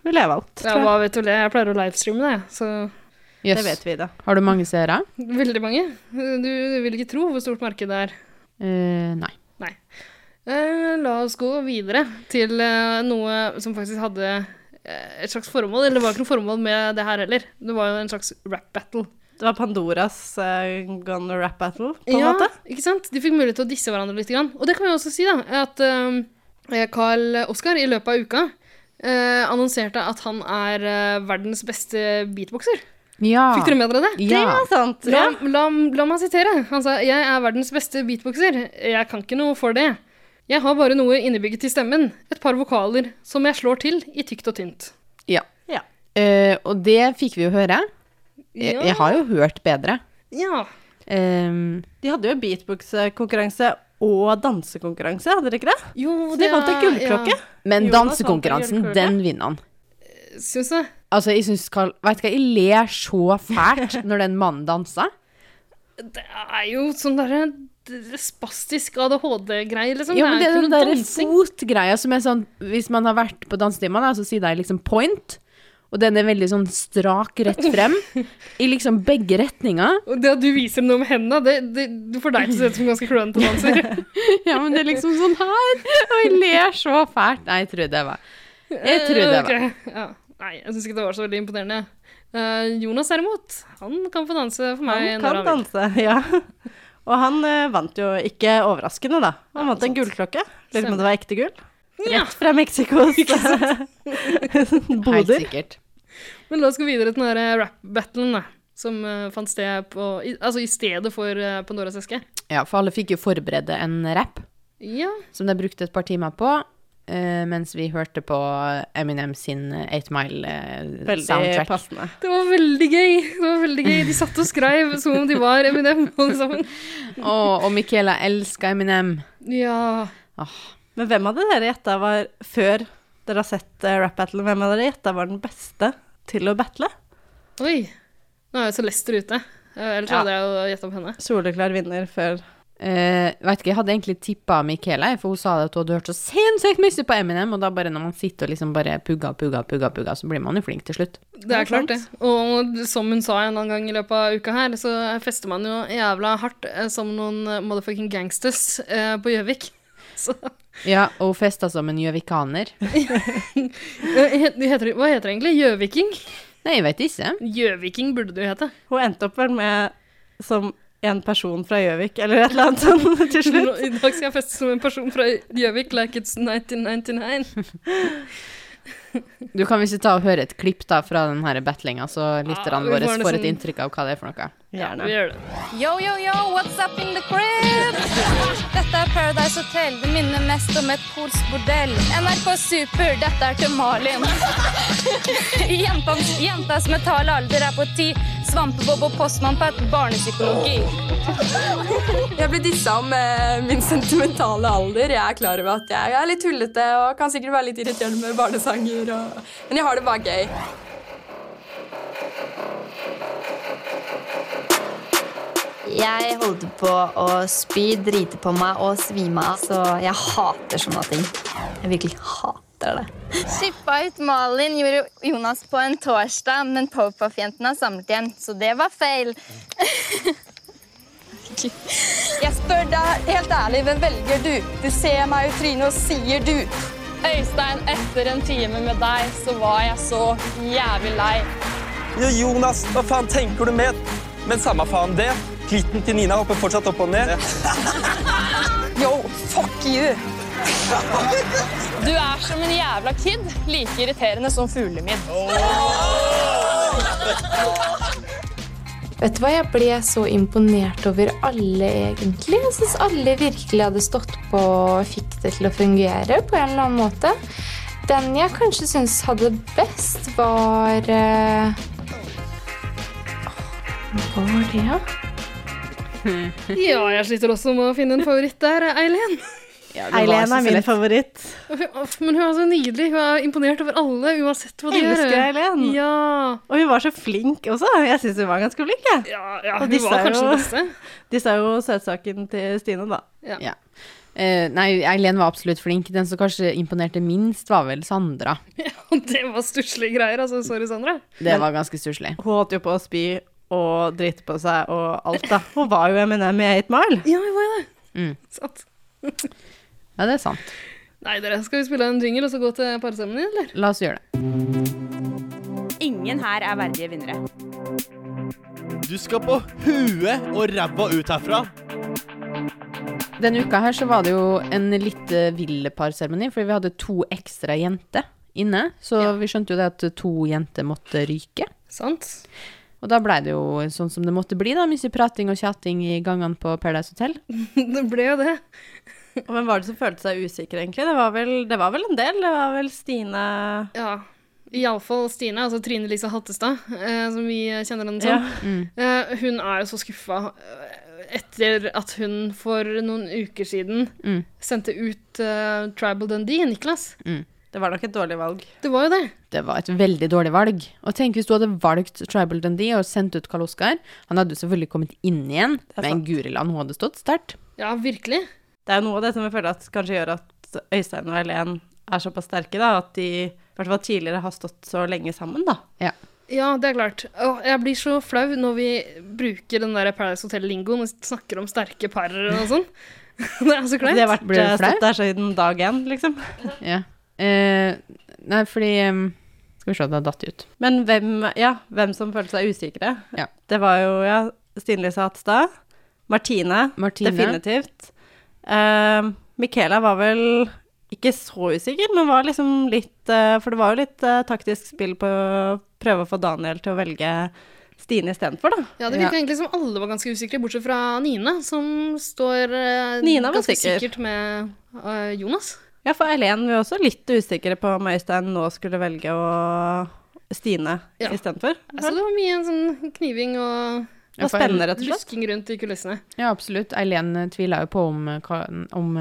vil jeg valgt, Ja, tror jeg. hva vet du det? Jeg pleier å livestreame det, jeg, så Jøss. Det vet vi, da. Har du mange seere? Veldig mange. Du, du vil ikke tro hvor stort markedet er. Eh, nei. Nei. Eh, la oss gå videre til eh, noe som faktisk hadde eh, et slags formål. Eller det var ikke noe formål med det her heller. Det var jo en slags rap battle. Det var Pandoras eh, Gone Rap Battle, på en ja, måte. ikke sant? De fikk mulighet til å disse hverandre litt. Grann. Og det kan vi også si, da, at eh, Carl Oskar i løpet av uka eh, annonserte at han er eh, verdens beste beatboxer. Ja. Fikk dere med dere det? Ja. Det er sant. La, la, la meg sitere. Han sa 'Jeg er verdens beste beatboxer. Jeg kan ikke noe for det'. 'Jeg har bare noe innebygget i stemmen. Et par vokaler som jeg slår til i tykt og tynt'. Ja. Ja. Eh, og det fikk vi jo høre. Jeg, Ja. jeg har jo hørt bedre. Ja. Ehm, De hadde jo beatbox-konkurranse og dansekonkurranse, hadde de ikke det? Jo, Så de vant en gullklokke. men Jonas dansekonkurransen, vant en gullklokke. den vinner han. Syns jeg. Altså, jeg syns Karl Vet du hva, jeg ler så fælt når den mannen danser. Det er jo sånn derre d- spastisk ADHD-greier, liksom. Ja, men det er ikke den noe der dansing. fotgreia som er sånn Hvis man har vært på dansetima, da, så sier de liksom point. Og den er veldig sånn strak rett frem. I liksom begge retninger. Og det at du viser noe med hendene, det, det, det får deg til å se ut som ganske klønete danser. Ja, men det er liksom sånn her. Og jeg ler så fælt. Nei, jeg tror det var Jeg tror det var Ok, Ja. Nei, jeg syns ikke det var så veldig imponerende. Eh, Jonas derimot, han kan få danse for meg. Han når kan vil. danse, ja. Og han eh, vant jo ikke overraskende, da. Han vant en gullklokke. Lurer på om det var ekte gull. Ja. Rett fra Mexicos Helt boder. sikkert. Men la oss gå videre til den der rap-battlen da, som eh, fant sted på, i, altså i stedet for eh, Pandoras eske. Ja, for alle fikk jo forberede en rap Ja. som de brukte et par timer på. eh, mens vi hørte på Eminem sin Eight eh, Mile-soundtrack. Veldig passende. Det var veldig gøy! Det var veldig gøy. De satt og skrev som om de var Eminem, alle sammen. og, og Michaela elska Eminem. Ja. Men hvem hadde dere gjetta var før dere har sett eh, rap battle, hvem hadde dere gjetta var den beste til å battle? Oi. Nå er jo Celester ute. Eh, Ellers Ja. hadde jeg jo gjetta på henne. Soleklar vinner før Eh, vet ikke, Jeg hadde egentlig tippa Michaela, for hun sa det at hun hadde hørt så sinnssykt mye på Eminem, og da bare når man sitter og liksom bare pugga, pugga, pugga, pugga, så blir man jo flink til slutt. Det er klart, det. Og som hun sa en annen gang i løpet av uka her, så fester man jo jævla hardt eh, som noen eh, motherfucking gangsters eh, på Gjøvik. Så Ja, og hun festa som en gjøvikaner. eh, het- heter, det- Hva heter det egentlig? Gjøviking? Nei, jeg vet ikke. Gjøviking burde det jo hete. Hun endte opp vel med som en person fra Gjøvik, eller et eller annet sånt Nå, til slutt. I dag skal jeg feste som en person fra Gjøvik, like it's 1999. Du kan visst ta og høre et klipp da fra den her battlinga, så Ja, lytterne vi våre får liksom- får et nesten- inntrykk av hva det er for noe. Vi Gjerne. gjør det. Yo, yo, yo, what's up in the crib? Dette er Paradise Hotel. Det minner mest om et polsk bordell. NRK Super, dette er til Malin. Jentas, jentas mentale alder er på ti. Svampebob og postmann på et barnepsykologi. Jeg ble dissa om eh, min sentimentale alder. Jeg er klar over at jeg er litt tullete og kan sikkert være litt irriterende med barnesanger. Og... Men jeg har det bare gøy. Jeg holdt på å spy, drite på meg og svime av, så jeg hater sånne ting. Jeg virkelig hater det. Skippa ut Malin gjorde Jonas på en torsdag, men Powerpuff-jentene har samlet igjen, så det var feil. Jeg spør deg helt ærlig, hvem velger du? Du ser meg i trynet og sier du. Øystein, etter en time med deg så var jeg så jævlig lei. Jo, Jonas, hva faen tenker du med? Men samme faen det. Klitten til Nina hopper fortsatt opp og ned. Yo, fuck you! Du er som en jævla kid, like irriterende som fuglemidd. Vet du hva, jeg ble så imponert over alle, egentlig. Jeg syns alle virkelig hadde stått på og fikk det til å fungere på en eller annen måte. Den jeg kanskje syns hadde best, var eh, åh, Hva var det, da? Ja, jeg sliter også med å finne en favoritt der. Eileen. Eileen er min favoritt. Uff, Men hun er så nydelig. Hun er imponert over alle, uansett hva de gjør. Elsker Eileen. Og hun var så flink også. Jeg syns hun var ganske flink. Jeg. ja, Og hun var kanskje den beste. disse er jo søtsaken til Stine, da. Ja. Eh, nei, Eileen var absolutt flink. Den som kanskje imponerte minst, var vel Sandra. Det var stusslige greier. altså. Sorry, Sandra. Det var ganske stusslig. Hun holdt jo på å spy og drite på seg og alt, da. Hun var jo Eminem i Eight Mile. Ja, hun var jo det. Mm. Sant. Ja, det er sant. Nei, dere, skal vi spille en jingle og så gå til parseremonien, eller? La oss gjøre det. Ingen her er verdige vinnere. Du skal på huet og ræva ut herfra. Denne uka her så var det jo en litt eh, vill parseremoni, fordi vi hadde to ekstra jenter inne. Så vi skjønte jo det at to jenter måtte ryke. Sant. Og da blei det jo sånn som det måtte bli, da. Mye prating og tjatting i gangene på Paradise Hotel. Det ble jo det. Og hvem var det som følte seg usikker, egentlig? Det var vel, det var vel en del? Det var vel Stine Ja. Iallfall Stine, altså Trine Lise Hattestad, eh, som vi kjenner henne Ja. som. Eh, hun er jo så skuffa eh, etter at hun for noen uker siden Mm. sendte ut eh, Tribal Dundee, Niklas. Mm. Det var nok et dårlig valg. Det var jo det. Det var et veldig dårlig valg. Og tenk hvis du hadde valgt Tribal Dundee og sendt ut Karl Oskar. Han hadde jo selvfølgelig kommet inn igjen, men Guriland hun hadde stått sterkt. Ja, virkelig. Det er jo noe av det som jeg føler at kanskje gjør at Øystein og Helen er såpass sterke, da, at de i hvert fall tidligere har stått så lenge sammen, da. Ja, det er klart. Åh, jeg blir så flau når vi bruker den der Paradise Hotel-lingoen og snakker om sterke parer og sånn. det er så kleint. De har vært Blir du eh, flau? stått der siden dag én, liksom. Ja. Eh, nei, fordi eh, Skal vi se, det har datt ut. Men hvem, ja, hvem som følte seg usikre? Ja. Det var jo ja, Stine Lise Hatstad. Martine, Martine. definitivt. Uh, Michaela var vel ikke så usikker, men var liksom litt eh, For det var jo litt eh, taktisk spill på å prøve å få Daniel til å velge Stine istedenfor, da. Ja, det virka egentlig som alle var ganske usikre, bortsett fra Nina, som står eh, Nina var ganske sikker. sikkert med eh, Jonas. Ja, for Eileen var også litt usikre på om Øystein nå skulle velge å Stine Ja. istedenfor. Altså, det var mye sånn kniving og, Ja, for- Spennende, rett og slett. lusking rundt i kulissene. Ja, absolutt. Eileen eh, tvila jo på om, eh, hva- om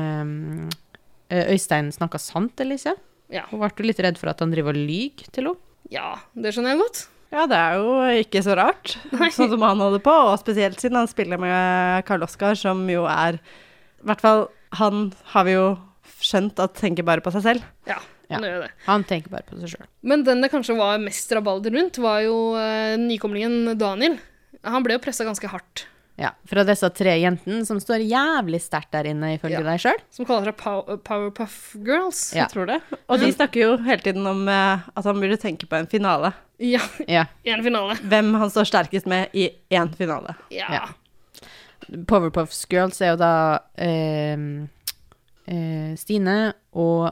eh, Øystein snakka sant eller ikke. Ja. Hun ble jo litt redd for at han driver og lyver til henne. Ja, det skjønner jeg godt. Ja, det er jo ikke så rart, sånn som han holder på. Og spesielt siden han spiller med Karl Oskar, som jo er I hvert fall han har vi jo skjønt at tenker bare på seg selv. Ja, Ja. nå gjør jeg det. Han tenker bare på seg sjøl. Men den det kanskje var mest rabalder rundt, var jo eh, nykomlingen Daniel. Han ble jo pressa ganske hardt. Ja, fra disse tre jentene som står jævlig sterkt der inne, ifølge deg sjøl. Som kaller seg Pow- Powerpuff Girls. Ja. Jeg tror det. Og Mm. de snakker jo hele tiden om eh, at han burde tenke på en finale. Ja, Ja. i en finale. Hvem han står sterkest med i én finale. Ja. Powerpuffs Girls er jo da eh, eh, Stine og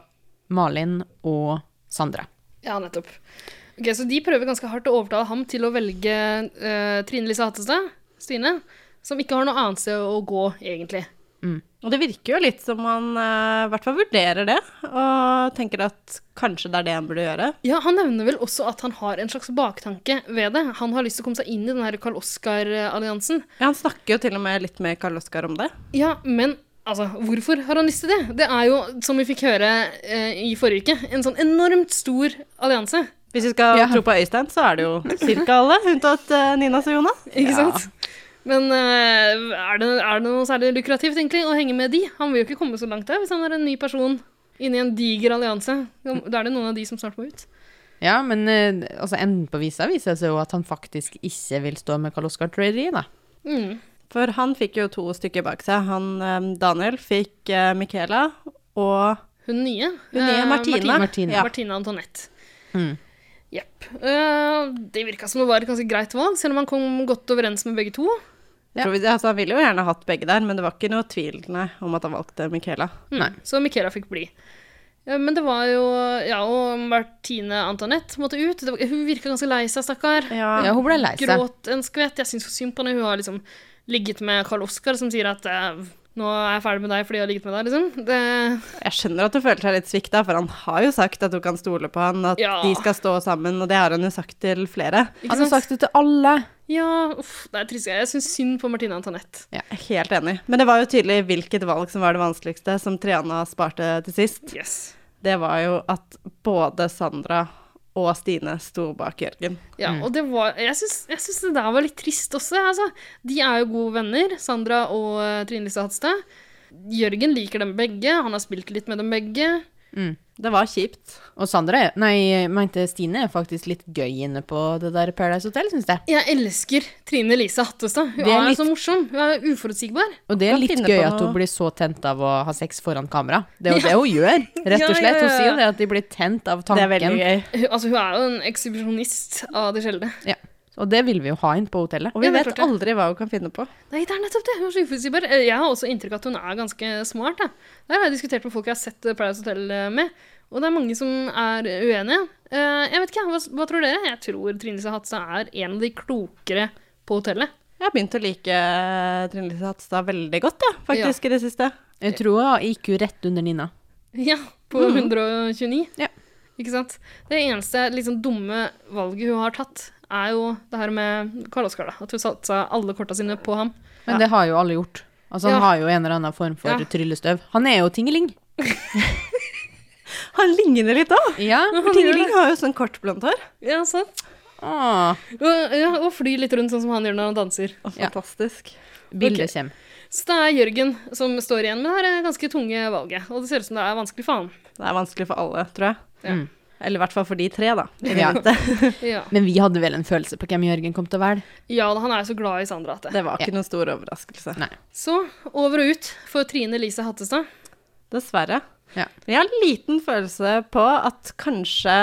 Malin og Sandra. Ja, nettopp. Ok, Så de prøver ganske hardt å overtale ham til å velge eh, Trine Lise Hattestad, Stine, som ikke har noe annet sted å gå, egentlig. Og det virker jo litt som han eh, i hvert fall vurderer det, og tenker at kanskje det er det han burde gjøre. Ja, Han nevner vel også at han har en slags baktanke ved det. Han har lyst til å komme seg inn i den her Karl Oskar-alliansen. Ja, Han snakker jo til og med litt med Karl Oskar om det. Ja, men altså, hvorfor har han lyst til det? Det er jo, som vi fikk høre eh, i forrige uke, en sånn enormt stor allianse. Hvis vi skal tro på Øystein, så er det jo ca. alle, unntatt eh, Ninas og Jonas. Ikke sant? Men eh, er, det, er det noe særlig lukrativt egentlig å henge med de? Han vil jo ikke komme så langt der hvis han er en ny person inni en diger allianse. Da da er det noen av de som snart må ut. Ja, men eh, altså, enden på visa viser det seg jo at han faktisk ikke vil stå med Karl Oskar Trøyeri, da. Mm. For han fikk jo to stykker bak seg. Han eh, Daniel fikk eh, Michaela og Hun nye. Hun nye, eh, Martine. Martine, Martine. Ja. Mm. Martine Antoinette. Jepp. Eh, det virka som det var et ganske greit valg, selv om han kom godt overens med begge to. Tror vi- Altså, han ville jo gjerne hatt begge der, men det var ikke noe tvil nei, om at han valgte Michaela. Mm, så Michaela fikk bli. Ja, Men det var jo Ja, og Martine Antoinette måtte ut. Det var, hun virka ganske lei seg, stakkar. Ja, hun ble lei seg. Gråt en skvett. Jeg syns synd på henne. Hun har liksom ligget med Karl Oskar, som sier at eh, 'Nå er jeg ferdig med deg fordi jeg har ligget med deg', liksom. Det Jeg skjønner at hun føler seg litt svikta, for han har jo sagt at hun kan stole på han, at Ja. de skal stå sammen, og det har han jo sagt til flere. Ikke Han har sant? sagt det til alle. Ja, uff, det er trist. Jeg syns synd på Martine Antoinette. Ja, jeg er helt enig. Men det var jo tydelig hvilket valg som var det vanskeligste, som Triana sparte til sist. Yes. Det var jo at både Sandra og Stine sto bak Jørgen. Ja, Mm. og det var, jeg syns jeg syns det der var litt trist også. jeg, Altså. De er jo gode venner, Sandra og eh, Trine Lise Hadstad. Jørgen liker dem begge, han har spilt litt med dem begge. Det var kjipt. Og Sandra er Nei, jeg mente Stine er faktisk litt gøy inne på det der Paradise Hotel, syns jeg. Jeg elsker Trine Lise Hattestad. Hun Det er er, litt- så morsom. Hun er uforutsigbar. Og det er Kan litt finne gøy på at hun noe. blir så tent av å ha sex foran kamera. Det er jo Ja. det hun gjør, rett og Ja, ja, slett. Hun ja. sier jo det at de blir tent av tanken. Hun, altså, hun er jo en ekshibisjonist av det sjeldne. Ja. Og det vil vi jo ha inn på hotellet. Og vi Ja, det er vet klart aldri hva hun kan finne på. Nei, det er nettopp det. Hun er så uforutsigbar. Eh, Jeg har også inntrykk av at hun er ganske smart. Da. Det har jeg diskutert med folk jeg har sett eh, Paradise Hotel eh, med, og det er mange som er uenige. Eh, Jeg vet ikke, hva, hva tror dere? Jeg tror Trine Lise Hatstad er en av de klokere på hotellet. Jeg har begynt å like eh, Trine Lise Hatstad veldig godt, ja, faktisk, Ja. i det siste. Jeg tror hun gikk jo rett under Nina. Ja, på Mhm. 129. Ikke sant? Det eneste liksom, dumme valget hun har tatt, er jo det her med Karl Oskar, da. At hun satsa alle korta sine på ham. Men det har jo alle gjort. Altså, han Ja. har jo en eller annen form for Ja. tryllestøv. Han er jo tingeling. han ligner litt òg. Ja. For Tingeling har jo sånn kort blondt hår. Ja, sant? Ah, Og, ja, og fly litt rundt sånn som han gjør når han danser. Fantastisk. bildet Ok. kommer. Så det er Jørgen som står igjen med det her eh, ganske tunge valget. Og det ser ut som det er vanskelig for han. Det er vanskelig for alle, tror jeg. Ja. Eller i hvert fall for de tre, da. Ja. Ja. Men vi hadde vel en følelse på hvem Jørgen kom til å være. ja, da, han er jo så glad i Sandra at det. Det var ikke noen stor overraskelse. Nei. Så over og ut for Trine Lise Hattestad. Dessverre. Ja. Jeg har en liten følelse på at kanskje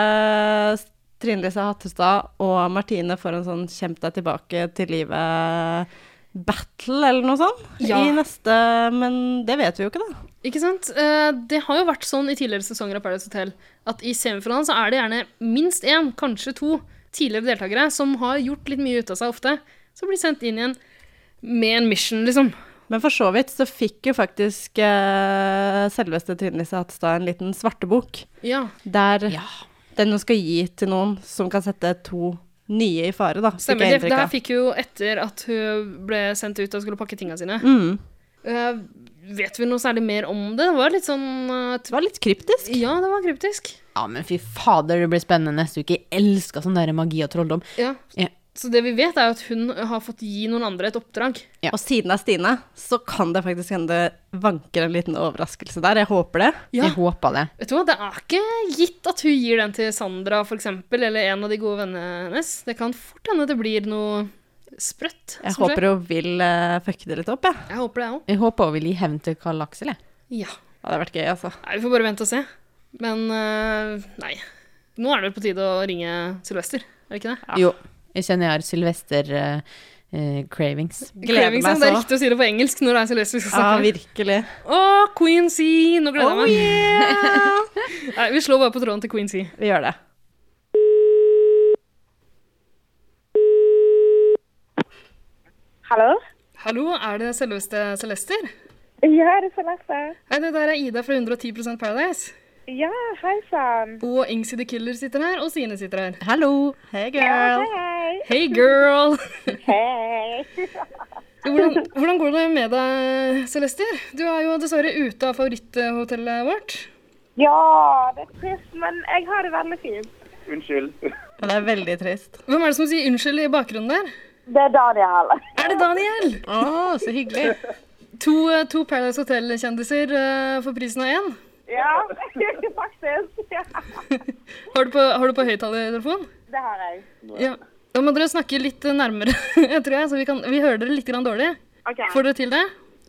Trine Lise Hattestad og Martine får en sånn 'kjemp deg tilbake til livet'-battle eller noe sånt Ja. i neste Men det vet vi jo ikke, da. Ikke sant? Eh, Det har jo vært sånn i tidligere sesonger av Paradise Hotel at i semifinalen så er det gjerne minst én, kanskje to, tidligere deltakere som har gjort litt mye ut av seg ofte, som blir sendt inn igjen med en mission, liksom. Men for så vidt så fikk jo faktisk eh, selveste Trine Lise Hattestad en liten svartebok Ja. der den hun skal gi til noen som kan sette to nye i fare, da. fikk jeg Stemmer. Det, det inntrykk av. her fikk hun etter at hun ble sendt ut og skulle pakke tinga sine. Mm. Eh, vet vi noe særlig mer om det? Det var litt sånn Det var litt kryptisk. Ja, det var kryptisk. Ja, men fy fader, det blir spennende neste uke. Jeg elsker sånn der magi og trolldom. Ja. Ja. Så det vi vet, er jo at hun har fått gi noen andre et oppdrag. Og siden av Stine, så kan det faktisk hende det vanker en liten overraskelse der. Jeg håper det. Ja. Jeg håper det. Vet du hva, Det er ikke gitt at hun gir den til Sandra for eksempel, eller en av de gode vennene hennes. Det kan fort hende det blir noe sprøtt. Jeg som håper skjer. hun vil uh, fucke det litt opp, jeg. Jeg håper det, jeg òg. Jeg håper hun vil gi hevn til Karl Aksel, jeg. Ja. Det hadde vært gøy, altså. Nei, Vi får bare vente og se. Men eh, nei. Nå er det vel på tide å ringe Sylvester, er det ikke det? Jo. Jeg kjenner jeg har eh, Sylvester-cravings. Cravings, ja. Det er riktig å si det på engelsk når det er Sylvester vi altså. skal Ja, Ah, snakke med. virkelig. Å, Queen C! Nå gleder Oh, jeg meg. nei, vi slår bare på tråden til Queen C. Vi gjør det. Hallo? Hallo, er det selveste Celester? Ja, det er Celeste. Hei, det der er Ida fra 110 Paradise. Ja, hei sann. Og Ingsi the Killer sitter her, og Sine sitter her. Hallo. Hey, girl. hei. Hey, girl. Hei. Hvordan, hvordan går det med deg, Celester? Du er jo dessverre ute av favoritthotellet vårt. Ja, det er trist, men jeg har det veldig fint. Unnskyld. Det er veldig trist. Hvem er det som sier unnskyld i bakgrunnen der? Det er Daniel. Er det Daniel? Å, så hyggelig. To, eh, to Paradise Hotel-kjendiser eh, for prisen av én. Ja, faktisk. Har du på, har du på høyttalertelefon? Det har jeg. Ja. Da må dere snakke litt eh, nærmere, tror jeg, så vi, kan, vi hører dere litt grann dårlig. Ok. Får dere til det?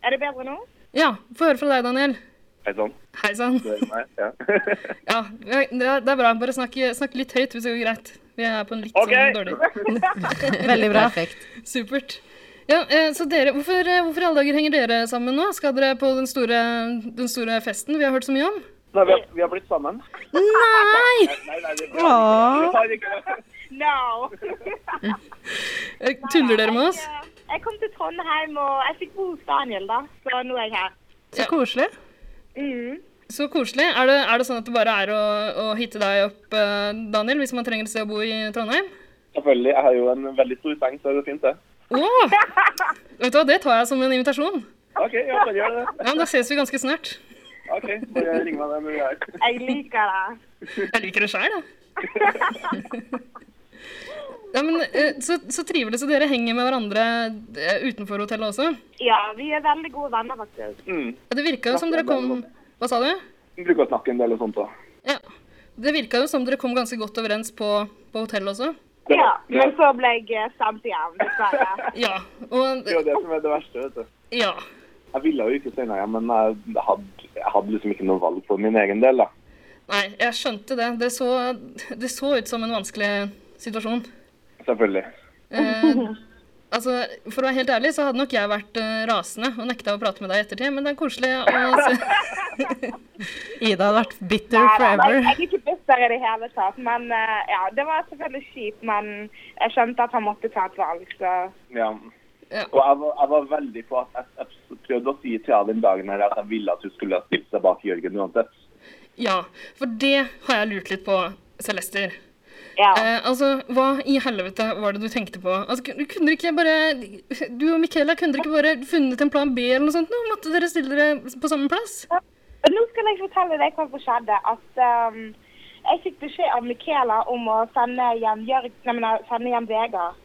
Er det bedre nå? Ja, få høre fra deg, Daniel. Hei sann. Hei sann. Det er meg, ja. Ja, det er det er bra. Bare snakk, snakk litt høyt hvis det går greit. Vi er på en litt Ok. sånn dårlig Veldig bra. Supert. Ja, eh, så dere, hvorfor, eh, hvorfor i alle dager henger dere sammen nå? Skal dere på den store, den store festen vi har hørt så mye om? Nei, vi har, vi har blitt sammen. Nei! Nei, nei, vi- Åh. vi tar ikke det. No. Eh, Tuller dere med oss? Jeg kom til Trondheim, og jeg fikk bo hos Daniel, da. Så nå er jeg her. Så koselig. Så koselig. Er det, er det sånn at det bare er å, å hitte deg opp, eh, Daniel, hvis man trenger et sted å bo i Trondheim? Selvfølgelig. Jeg har jo en veldig stor seng, så det går fint, det. Åh! Vet du hva, det tar jeg som en invitasjon. OK, ja, bare gjør det. Ja, men Da ses vi ganske snart. OK, bare ring meg når du er her. Jeg liker det. Jeg liker det sjøl, jeg. Ja, men, eh, så, så trivelig så dere henger med hverandre eh, utenfor hotellet også. Ja, vi er veldig gode venner, faktisk. Mm. Ja, det virka jo som dere kom Hva sa du? Vi bruker å snakke en del og sånt òg. Det virka jo som dere kom ganske godt overens på, på hotellet også. Ja, men så ble jeg eh, sendt hjem, dessverre. Ja. Og, Det er jo det som er det verste, vet du. ja. Jeg ville jo ikke si nei, men jeg hadde, jeg hadde liksom ikke noe valg for min egen del, da. Nei, jeg skjønte det. Det så, det så ut som en vanskelig situasjon. Selvfølgelig. Eh, altså, For å være helt ærlig så hadde nok jeg vært eh, rasende og nekta å prate med deg i ettertid, men det er koselig å se Ida hadde vært bitter Nei, nei, nei, forever. jeg er ikke bitter i det hele tatt, men eh, ja, det var selvfølgelig kjipt, men jeg skjønte at han måtte ta et valg, så Ja. Og jeg var, jeg var veldig på at jeg, jeg prøvde å si til deg den dagen her at jeg ville at du skulle ha stilt deg bak Jørgen uansett. Ja, for det har jeg lurt litt på, Celester. Eh, altså, Hva i helvete var det du tenkte på? Altså, kun- kunne dere ikke bare, Du og Michaela, kunne dere ikke bare funnet en plan B eller noe sånt? nå? Måtte dere stille dere på samme plass? Nå skal jeg fortelle deg hva som skjedde. At ehm, jeg fikk beskjed av Michaela om å sende hjem, Jørg, nei, men, uh, sende hjem Vegard.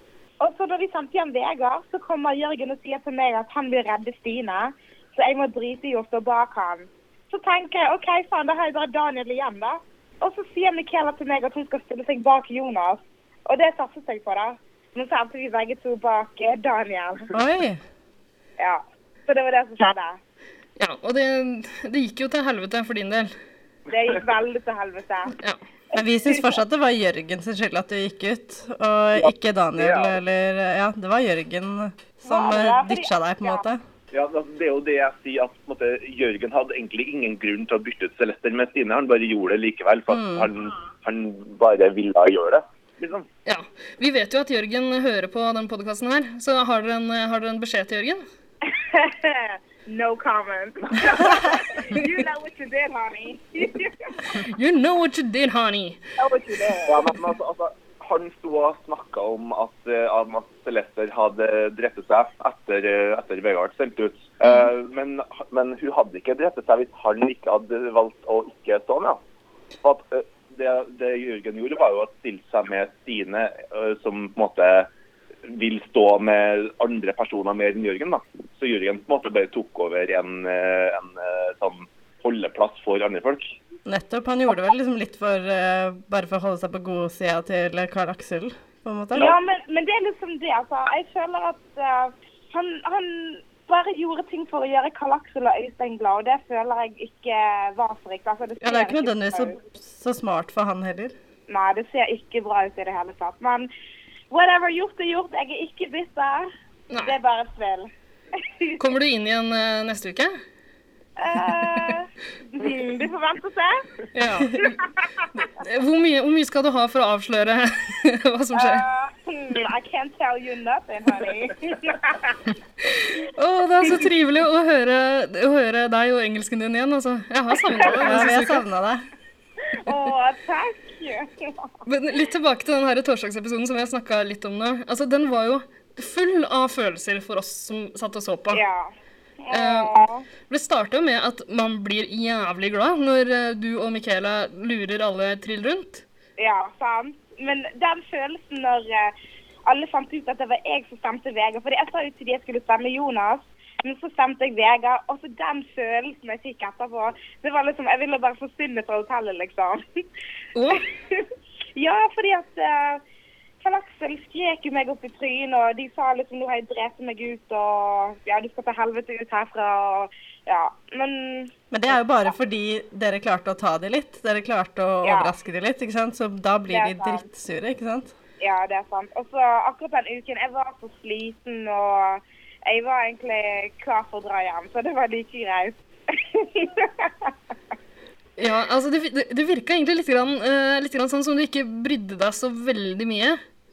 Og så da de sendte hjem Vegard, så kommer Jørgen og sier til meg at han vil redde Stine. Så jeg må drite i å stå bak han. Så tenker jeg OK, faen, da har jeg bare Daniel igjen, da. Og så sier Michaela til meg at hun skal stille seg bak Jonas. Og det satset jeg på, da. Men så endte vi begge to bak eh, Daniel. Oi. Ja. Så det var det som skjedde. Ja, og det, det gikk jo til helvete for din del. Det gikk veldig til helvete. Men vi syns fortsatt det var Jørgen sin skyld at du gikk ut, og ikke Daniel Ja. eller Ja, det var Jørgen som Ja, det eh, er fordi- ditcha deg, på en måte. Ja, altså, Det er jo det jeg sier, at på en måte, Jørgen hadde egentlig ingen grunn til å bytte ut Celester med Stine. Han bare gjorde det likevel, for at Mm. han, han bare ville gjøre det. Liksom, Ja, Vi vet jo at Jørgen hører på den podkasten her, så har dere, en, har dere en beskjed til Jørgen? no comment. you know what you did, honey. You know what you did, honey. know what you did. Ja, men altså, altså, han sto og snakka om at, eh, om at Celester hadde drept seg etter, eh, etter Vegard sendte ut. Eh, men, men hun hadde ikke drept seg hvis han ikke hadde valgt å ikke stå med. For at, eh, det, det Jørgen gjorde, var jo å stille seg med Stine, eh, som på en måte vil stå med andre personer mer enn Jørgen. da. Så Jørgen på en måte bare tok over en, eh, en eh, sånn holdeplass for andre folk. Nettopp. Han gjorde det vel liksom litt for eh, Bare for å holde seg på godsida til Karl Aksel, på en måte. Ja, men, men det er liksom det, altså. Jeg føler at eh, han, han bare gjorde ting for å gjøre Karl Aksel og Øystein glad, og det føler jeg ikke var så riktig. Altså, Ja, det er jo ikke ser nødvendigvis bra ut. så, så smart for han heller. Nei, det ser ikke bra ut i det hele tatt. Men whatever, gjort er gjort. Jeg er ikke bitter. Det er bare spill. Kommer du inn igjen eh, neste uke? Eh, mm, vi får vente og se. Ja. Hvor mye, hvor mye skal du ha for å avsløre hva som skjer? Uh, hmm, I can't tell you nothing, honey. Å, det er så trivelig å høre, å høre deg og engelsken din igjen, altså. Jeg har savna deg. Ja, vi har deg. Åh, takk. Men litt tilbake til den her torsdagsepisoden som jeg snakka litt om nå. Altså, den var jo full av følelser for oss som satt og så på. Ja. Eh, det starter jo med at man blir jævlig glad når eh, du og Michaela lurer alle trill rundt. Ja, sant. Men den følelsen når eh, alle fant ut at det var jeg som stemte Vegard Fordi jeg sa jo til de jeg skulle stemme Jonas, men så stemte jeg Vegard. Og så den følelsen jeg fikk etterpå Det var liksom Jeg ville bare forsvinne fra hotellet, liksom. Og ja, fordi at uh, så de eh, skrek jo meg opp i trynet, og de sa liksom 'nå har jeg drept meg ut', og 'ja, du skal til helvete ut herfra', og ja. Men Men det er jo bare fordi dere klarte å ta de litt. Dere klarte å Ja. overraske de litt, ikke sant? Så da blir de Det er sant. drittsure, ikke sant? Ja, det er sant. Og så akkurat den uken, jeg var så sliten, og jeg var egentlig klar for å dra hjem, så det var like greit. Ja, altså det, det, det virka egentlig litt, grann, eh, litt grann sånn som du ikke brydde deg så veldig mye.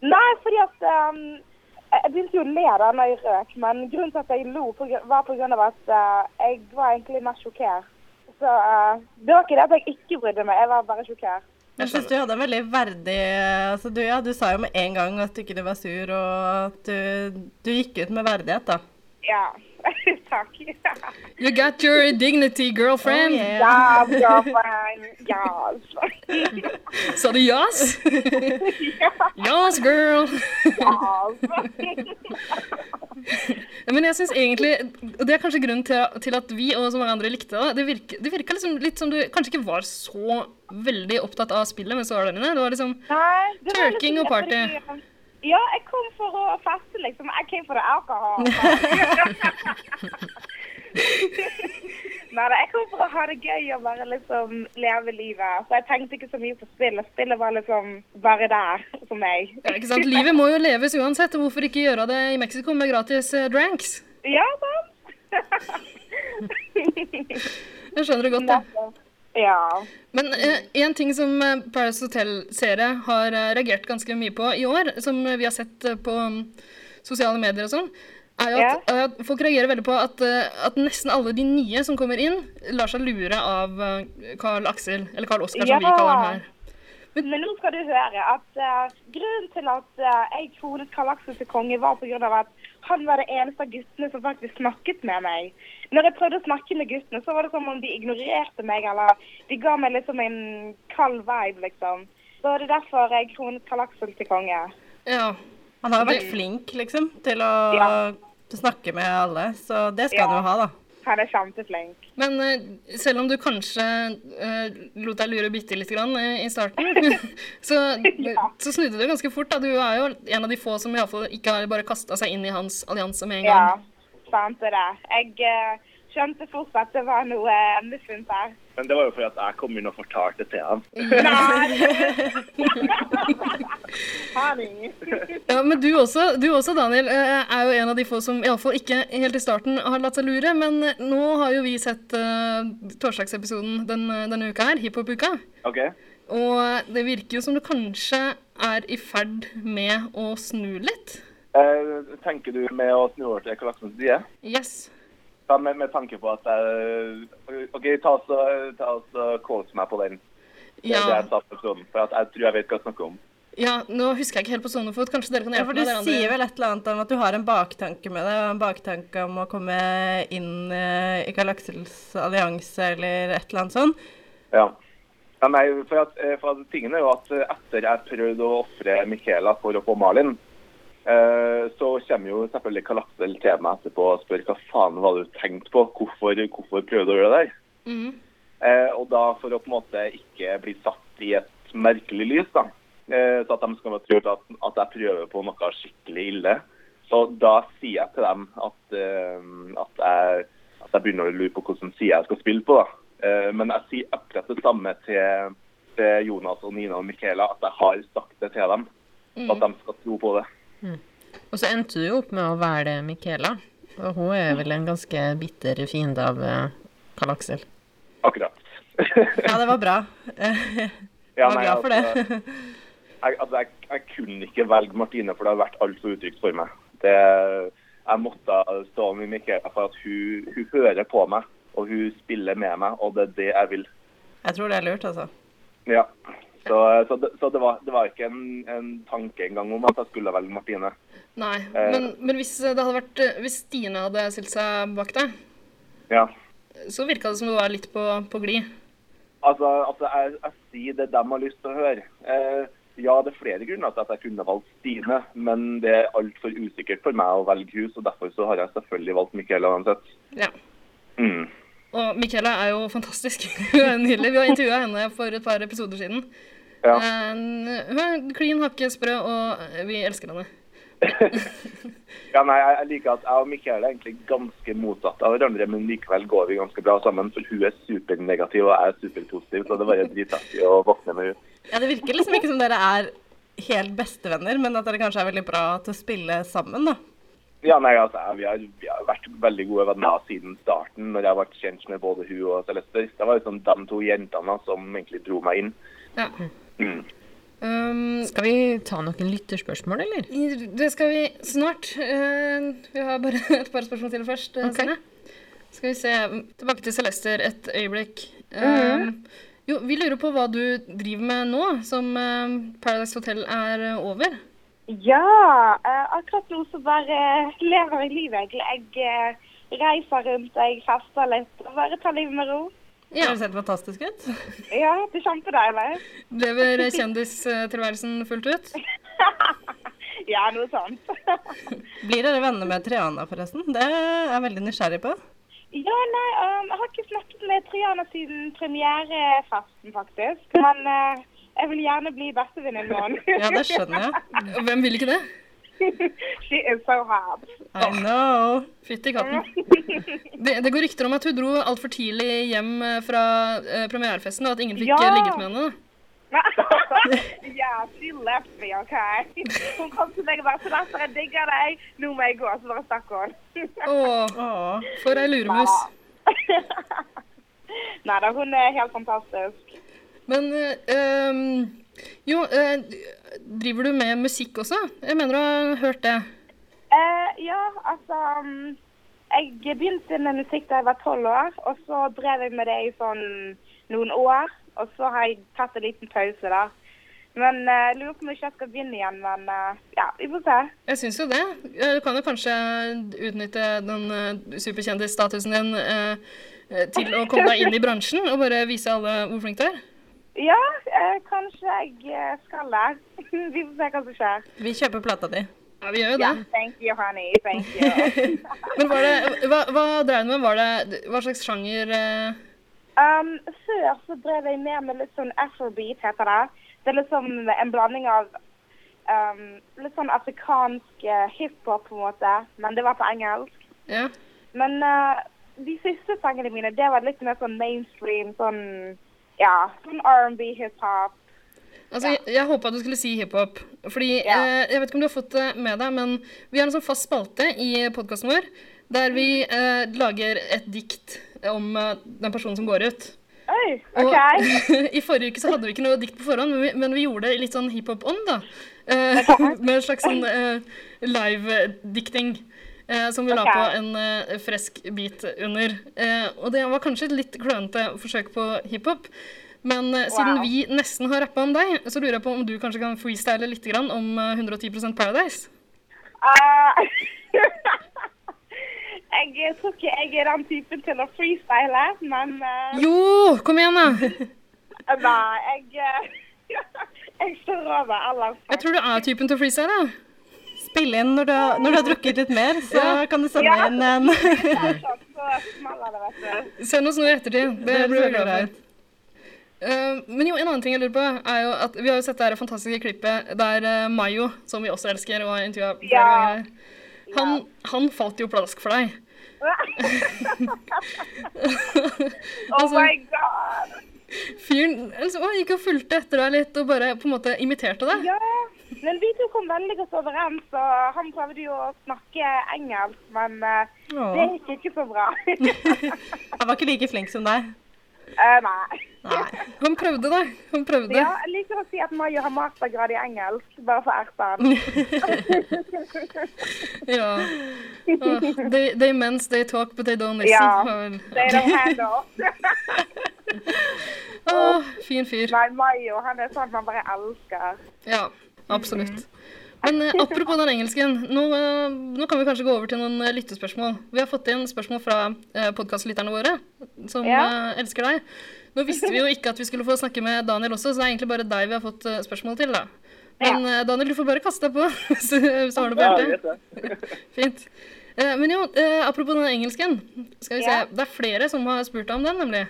Nei, fordi at um, jeg jeg begynte jo å le da når jeg røk, men grunnen til at jeg lo på gr- var på grunn av at uh, jeg var egentlig mer sjokkert. Så uh, det var ikke det at jeg ikke brydde meg, jeg var bare sjokkert. Jeg syns du hadde en veldig verdig altså du, ja, du sa jo med en gang at du ikke var sur, og at du, du gikk ut med verdighet, da. Ja. Takk. You got your dignity, girlfriend. Oh, yeah. Ja, bra, fine. Ja, altså. Sa du yes? yes, girl. altså. Ja, Men jeg synes egentlig, og det er kanskje grunnen til, til at vi og så mange andre likte det, det virka, det virket liksom litt som du kanskje ikke var så veldig opptatt av spillet mens du var der inne. Det var liksom Nei, det var Twerking liksom- og party. Ja, jeg kom for å feste, liksom. I came for the alcohol. Nei, da, jeg kom for å ha det gøy og bare liksom leve livet. Så jeg tenkte ikke så mye på spillet. Spillet var liksom bare der for meg. ja, ikke sant? Livet må jo leves uansett, og hvorfor ikke gjøre det i Mexico med gratis eh, drinks? Ja, sant? Jeg skjønner det godt, da. Ja. Men eh, en ting som eh, Paris Hotel-seere har eh, reagert ganske mye på i år, som eh, vi har sett eh, på mm, sosiale medier og sånn, er jo at, er at folk reagerer veldig på at, eh, at nesten alle de nye som kommer inn, lar seg lure av eh, Carl Aksel, eller Carl Oskar, som vi kaller han her. Men, nå skal du høre at eh, grunnen til at eh, jeg kronet Karl Aksel til konge, var pga. at han var det eneste av guttene som faktisk snakket med meg. Når jeg prøvde å snakke med guttene, så var det som om de ignorerte meg, eller de ga meg liksom en kald vibe, liksom. Så det er derfor jeg kronet Karl Aksel til konge. Ja. Han har jo Det- vært flink, liksom, til å Ja. snakke med alle, så det skal Ja. han jo ha, da. Han er kjempeflink. Men eh, selv om du kanskje eh, lot deg lure bitte lite grann eh, i starten, så, så snudde du ganske fort. Da. Du er jo en av de få som i alle fall ikke har bare kasta seg inn i hans allianse med en gang. Ja, sant det er det. Jeg eh, skjønte fort at det var noe uh, muffens her. Men det var jo fordi at jeg kom inn og fortalte det til ham. Honey. Ja, men du også, du også Daniel, eh, er jo en av de få som iallfall ikke helt i starten har latt seg lure. Men eh, nå har jo vi sett uh, torsdagsepisoden den, eh, denne uka her, hiphop-uka. OK? Og det virker jo som du kanskje er i ferd med å snu litt. Eh, tenker du med å snu over til Kalaksens side? Yes. Ja, med, med tanke på at jeg Eh, OK, ta og så- ta og så quote meg på den. Det- Ja. Det jeg sa på episoden, for at jeg tror jeg vet hva jeg snakker om. Ja, nå husker jeg ikke helt på stående fot. Kanskje dere kan Ja, hjelpe for du meg? dere andre? sier vel et eller annet om at du har en baktanke med det, og en baktanke om å komme inn eh, i Karl Aksels allianse eller et eller annet sånn. Ja. ja nei, for, at, eh, for at tingen er jo at eh, etter jeg prøvde å ofre Michaela for å få Malin, eh, så kommer jo selvfølgelig Kalaksel til meg etterpå og spør hva faen var det du tenkte på? Hvorfor, hvorfor prøvde du å gjøre det der? Eh, og da for å på en måte ikke bli satt i et merkelig lys, da. Eh, så at de skal tro at, at jeg prøver på noe skikkelig ille. Så da sier jeg til dem at, eh, at, jeg, at jeg begynner å lure på hvilken side jeg skal spille på. da. Eh, men jeg sier akkurat det samme til, til Jonas og Nina og Michaela, at jeg har sagt det til dem. Mm. At de skal tro på det. Og så endte du jo opp med å være det, Michaela. Og hun er vel en ganske bitter fiende av eh, Karl Aksel. Akkurat. Ja, det var bra. Jeg Ja, var nei, glad for altså, det. Jeg, altså, jeg, jeg kunne ikke velge Martine, for det har vært altfor utrygt for meg. Det, jeg måtte stå med Michaela for at hun, hun hører på meg, og hun spiller med meg, og det er det jeg vil. Jeg tror det er lurt, altså. Ja. Så, eh, så, det, så det, var, det var ikke en, en tanke engang om at jeg skulle velge Martine. Nei, Eh. men, men hvis, det hadde vært, hvis Stine hadde stilt seg bak deg, Ja. så virka det som du var litt på, på glid. Altså, altså jeg, jeg sier det de har lyst til å høre. Eh, ja, det er flere grunner til at jeg kunne valgt Stine, men det er altfor usikkert for meg å velge henne, så derfor så har jeg selvfølgelig valgt Michaela uansett. Ja. Mm. Og Michaela er jo fantastisk. Hun er nydelig. Vi har intervjua henne for et par episoder siden. Ja. Eh, Hun er klin hakke sprø, og vi elsker henne. Ja, nei, jeg jeg liker at jeg og Michael er egentlig ganske motsatt av hverandre, men likevel går vi ganske bra sammen. For hun er supernegativ, og jeg er superpositiv, så det er bare dritartig å våkne med henne. Ja, det virker liksom ikke som dere er helt bestevenner, men at dere kanskje er veldig bra til å spille sammen, da. Ja, nei, altså, jeg- vi, har, vi har vært veldig gode venner siden starten, når jeg ble kjent med både hun og Celeste. Det var liksom de to jentene som egentlig dro meg inn. Ja. Um, Mm. Skal vi ta noen lytterspørsmål, eller? I- Det skal vi snart. Eh, vi har bare et par spørsmål til først. eh, Sine. Skal vi se. Tilbake til Celester et øyeblikk. Eh, Mm. Mhm. jo, vi lurer på hva du driver med nå som eh, Paradise Hotel er eh, over. Ja, eh, akkurat nå så bare lever jeg livet, egentlig. Jeg eh, reiser rundt, jeg fester litt og bare tar livet med ro. Ja. Det ser fantastisk ut. Ja, det er kjempedeilig. Lever kjendistilværelsen fullt ut? Ja, noe sånt. Blir dere venner med Triana, forresten? Det er jeg veldig nysgjerrig på. Ja, nei, um, jeg har ikke snakket med Triana siden premierefesten, faktisk. Men eh, jeg vil gjerne bli bestevenninne med henne. Ja, det skjønner jeg. Hvem vil ikke det? She is so hard. I know. Fytti katten. Det, det går rykter om at hun dro altfor tidlig hjem eh, fra eh, premierefesten, og at ingen fikk Ja. eh, ligget med henne. da. Ja, she left me, OK? Hun kom til meg og bare 'Sebastian, jeg digger deg. Nå må jeg gå.' Så bare stakk hun. Åh, for ei luremus. Nei da, hun er helt fantastisk. Men eh, um, jo, eh, driver du med musikk også? Jeg mener du har hørt det. Eh, ja, altså um, Jeg begynte med musikk da jeg var tolv år, og så drev jeg med det i sånn noen år. Og så har jeg tatt en liten pause, da. Men eh, jeg lurer på om jeg ikke skal begynne igjen, men eh, ja, vi får se. Jeg syns jo det. Eh, Du kan jo kanskje utnytte den eh, superkjendisstatusen din eh, eh, til å komme deg inn i bransjen og bare vise alle hvor flink du er. Ja, eh, kanskje jeg eh, skal det. vi får se hva som skjer. Vi kjøper plata di. Ja, vi gjør jo det. Ja, thank you, honey. Thank you. Men var det, hva, hva drev du med? Var det, hva slags sjanger eh, Um, før så drev jeg mer med litt sånn afrobeat, heter det. Det er liksom en blanding av um, litt sånn afrikansk eh, hiphop, på en måte. Men det var på engelsk. Ja. Men eh, de siste sangene mine, det var litt mer sånn mainstream, sånn ja, sånn R&B, hiphop. Altså, jeg, jeg håpa du skulle si hiphop. Fordi eh, Jeg vet ikke om du har fått det med deg, men vi har en sånn fast spalte i podkasten vår der vi eh, lager et dikt om eh, den personen som går ut. Oi, Og ok. I forrige uke så hadde vi ikke noe dikt på forhånd, men vi, men vi gjorde det i litt sånn hiphop-ånd, da. Eh, med en slags sånn eh, live-dikting. eh, som vi la Ok. på en eh, fresk bit under. Eh, og det var kanskje et litt klønete forsøk på hiphop. Men eh, siden Wow. vi nesten har rappa om deg, så lurer jeg på om du kanskje kan freestyle litt grann om eh, 110 Paradise? Ah. Eh, jeg tror ikke jeg er den typen til å freestyle, men eh, Jo! Kom igjen, da! Nei, jeg eh, Jeg står over alle. Jeg tror du er typen til å freestyle. da. Spille inn når du, har- når du har drukket litt mer, så Ja. kan du sende Ja. inn en Så smeller det, vet du. Send oss noe i ettertid. Det Det blir høres veldig bra greit. men jo, en annen ting jeg lurer på, er jo at vi har jo sett det her fantastiske klippet der eh, Mayo, som vi også elsker og har intervjua flere Ja. ganger, han, han falt jo pladask for deg. Oh Altså, my god! Fyren altså, han gikk og fulgte etter deg litt og bare på en måte imiterte deg. Ja, men vi to kom veldig godt overens, og han prøvde jo å snakke engelsk, men eh, Ja. det gikk ikke så bra. Han var ikke like flink som deg. Eh, nei. Han prøvde, da. Han prøvde. Ja, jeg liker å si at Maja har mastergrad i engelsk, bare for erten. Ja. Ah, they, they mens they talk, but they don't listen. Ja, var vel- they don't handle. Ah, fin fyr. Nei, Mayo, han er sånn man bare elsker. Ja, Mm. absolutt. Men eh, apropos den engelsken, nå, eh, nå kan vi kanskje gå over til noen eh, lyttespørsmål. Vi har fått inn spørsmål fra eh, podkastlytterne våre, som Ja. eh, elsker deg. Nå visste vi jo ikke at vi skulle få snakke med Daniel også, så det er egentlig bare deg vi har fått eh, spørsmål til, da. Men eh, Daniel, du får bare kaste deg på, så, så har du på Ja, hjertet. Fint. Eh, men jo, eh, apropos den engelsken. Skal vi se. Ja. Mm. Det er flere som har spurt om den, nemlig.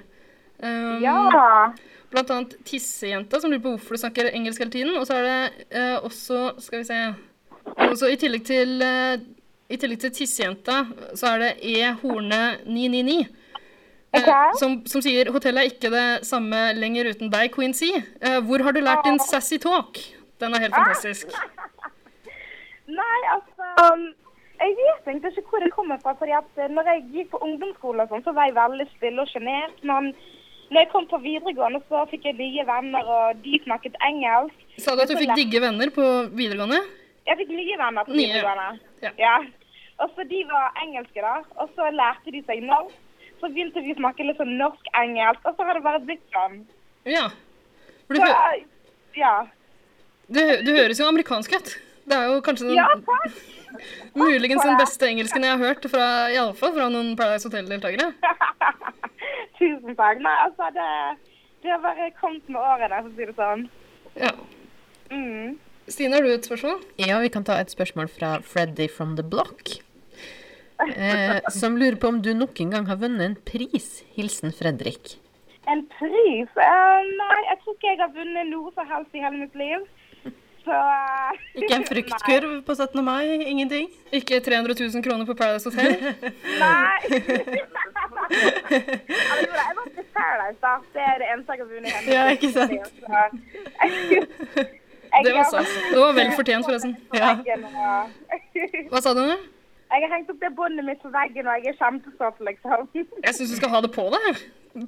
Um, Ja. Blant annet Tissejenta, som lurer på hvorfor du snakker engelsk hele tiden. Og så er det eh, også Skal vi se også i, tillegg til, eh, I tillegg til Tissejenta, så er det E. Horne 999. eh, som, som sier 'Hotellet er ikke det samme lenger uten deg, Quincy'. Eh, hvor har du lært Ah. din sassy talk? Den er helt fantastisk. Nei, altså Jeg vet egentlig ikke hvor det kommer fra. fordi at eh, når jeg gikk på ungdomsskole, og sånn, så var jeg veldig stille og sjenert. Men når jeg kom på videregående, så fikk jeg nye venner, og de snakket engelsk. Sa du at du fikk digge venner på videregående? Jeg fikk nye venner på Nye, videregående. Ja. Og så De var engelske, da. Og så lærte de seg norsk. Så begynte vi å snakke litt sånn norsk-engelsk, og så har det bare blitt sånn. Ja. For Så, du, hø- ja. du, hø- du høres jo amerikansk ut. Det er jo kanskje den, Ja, takk. muligens for den det. beste engelsken jeg har hørt, fra, iallfall fra noen Paradise Hotel-deltakere. Tusen takk. Nei, altså, det, det har bare kommet med årene, for å si det sånn. Ja. Mm. Stine, har du et spørsmål? Ja, vi kan ta et spørsmål fra Freddy from the Block. Eh, som lurer på om du nok en gang har vunnet en pris. Hilsen Fredrik. En pris? Eh, nei, jeg tror ikke jeg har vunnet noe som helst i hele mitt liv. Så eh, Ikke en fruktkurv på 17. mai? Ingenting? Ikke 300 000 kroner på Paradise Hotel? Nei. Eller jo, da, jeg vant til Paradise, da. Det er det eneste jeg har vunnet. i hele mitt Ja, liv. ikke sant? Så- Det var stas. Det var vel fortjent, forresten. Ja. Hva sa du nå? Jeg har hengt opp det båndet mitt på veggen, og jeg er kjempestolt, liksom. Jeg syns du skal ha det på deg.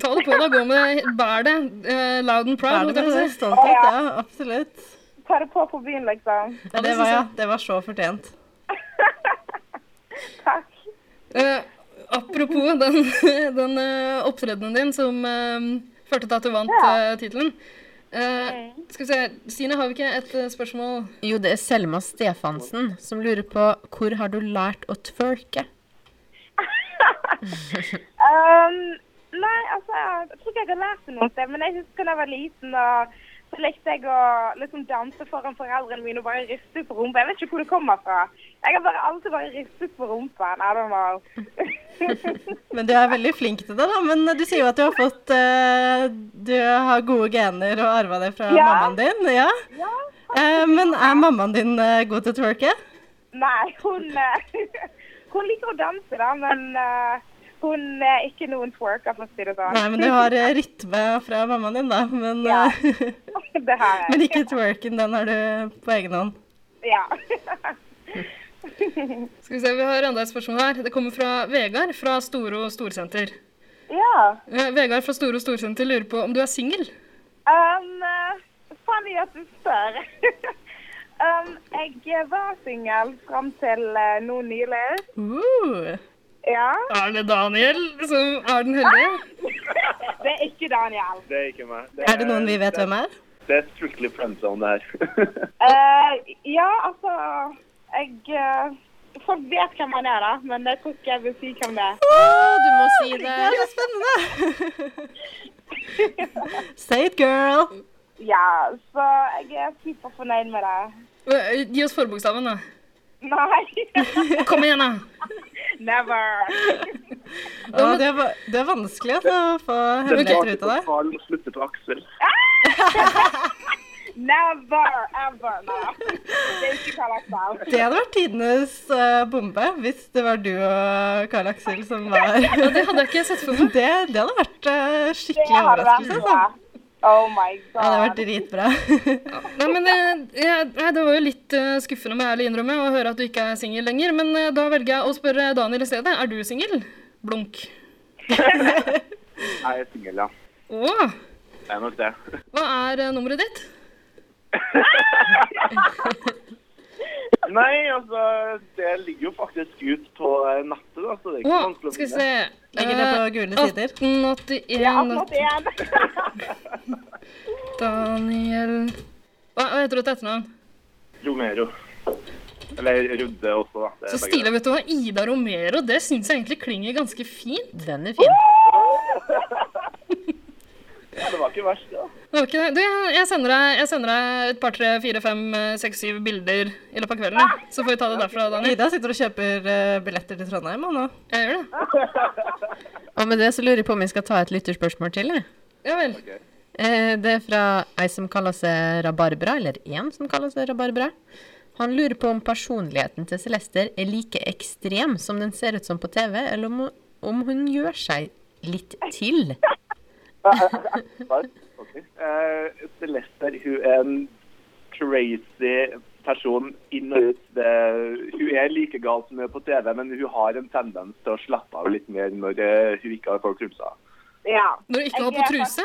Ta det på deg, gå med det, bær det. eh, loud and proud. Er holdt det jeg på å med si. stolthet? Ja, absolutt. Ta det på på byen, liksom. Ja, det, var, ja, det var så fortjent. Eh, apropos den, den eh, opptredenen din som eh, førte til at du vant Ja. uh, tittelen. Eh, skal vi se, Stine, har vi ikke et eh, spørsmål? Jo, det er Selma Stefansen som lurer på hvor har du lært å twerke? Um, nei, altså, jeg tror ikke jeg har lært det noe sted, men jeg husker da jeg var liten, og så likte jeg å liksom danse foran foreldrene mine og bare riste på rumpa. Jeg vet ikke hvor det kommer fra. Jeg har bare alltid bare ristet på rumpen. I don't know. Men du er veldig flink til det, da. Men du sier jo at du har fått eh, Du har gode gener og arva det fra Ja. mammaen din. Ja. Eh, men er mammaen din eh, god til å twerke? Nei, hun, eh, hun liker å danse da, men eh, hun er ikke noen twerker, for å si det sånn. Nei, men du har eh, rytme fra mammaen din, da. Men, Ja. eh, Det har jeg. men ikke twerken, den har du på egen hånd. Ja. Skal vi se, Vi har enda et spørsmål her. Det kommer fra Vegard fra Storo Storsenter. ja. Eh, Vegard fra Storo Storsenter lurer på om du er singel? Um, eh, funny at du spør. um, jeg var singel fram til uh, nå nylig. Uh. Ja. Er det Daniel som er den heldige? Det er ikke Daniel. Det er ikke meg. Er det noen vi vet hvem er? Det er strictly friend zone, det her. Eh, ja, altså Jeg eh, Folk vet hvem han er, da, men jeg tror ikke jeg vil si hvem det er. du må si det. Det er så spennende! Say it, girl. Ja, så jeg er superfornøyd med det. Eh, Gi oss forbokstaven, da. Nei. Kom igjen, da. Never. Å, det, er, va- det er vanskelig altså, å få hemmeligheter ut av det. Karl slutter på Aksel. Never ever. Nei. Det er ikke Karl Det hadde vært tidenes eh, bombe hvis det var du og Karl Aksel som var Ja, det hadde jeg ikke sett for meg. Det, det hadde vært eh, Det skikkelig hadde vært overraskelse. altså. bra. Oh my god. Ja, det hadde vært dritbra. Nei, men eh, jeg, nei, Det var jo litt eh, skuffende med ærlig innrømme å høre at du ikke er singel lenger. Men eh, da velger jeg å spørre Daniel i stedet. Er du singel? Blunk. Jeg er singel, ja. Å, Det er nok det. hva er eh, nummeret ditt? Nei, altså, det ligger jo faktisk ut på eh, nettet, da, så det er ikke Å, vanskelig skal vi se Legger det på Eh, gule sider. 1881. Daniel hva, hva heter du til etternavn? Romero. Eller Rudde også, da. Det er Så begge stilig, deler. vet du hva. Ida Romero. Det syns jeg egentlig klinger ganske fint. Den er fin. Ja, det var ikke verst, det. da. Det var ikke det. Du, jeg- jeg sender deg, jeg sender deg et par, tre, fire, fem, eh, seks, syv bilder i løpet av kvelden. ja. Så får vi ta det derfra, Daniel. Ida sitter og kjøper eh, billetter til Trondheim han, nå. Jeg gjør det. Og med det så lurer jeg på om vi skal ta et lytterspørsmål til. jeg. Ja vel. Eh, Det er fra ei som kaller seg Rabarbra, eller én som kaller seg Rabarbra. Han lurer på om personligheten til Celester er like ekstrem som den ser ut som på TV, eller om, om hun gjør seg litt til. Eh, Celeste hun er en crazy person inn og ut. Det, hun er like gal som hun er på TV, men hun har en tendens til å slappe av litt mer når eh, hun ikke har folk rundt seg. Ja. Når du ikke var Jeg på er truse?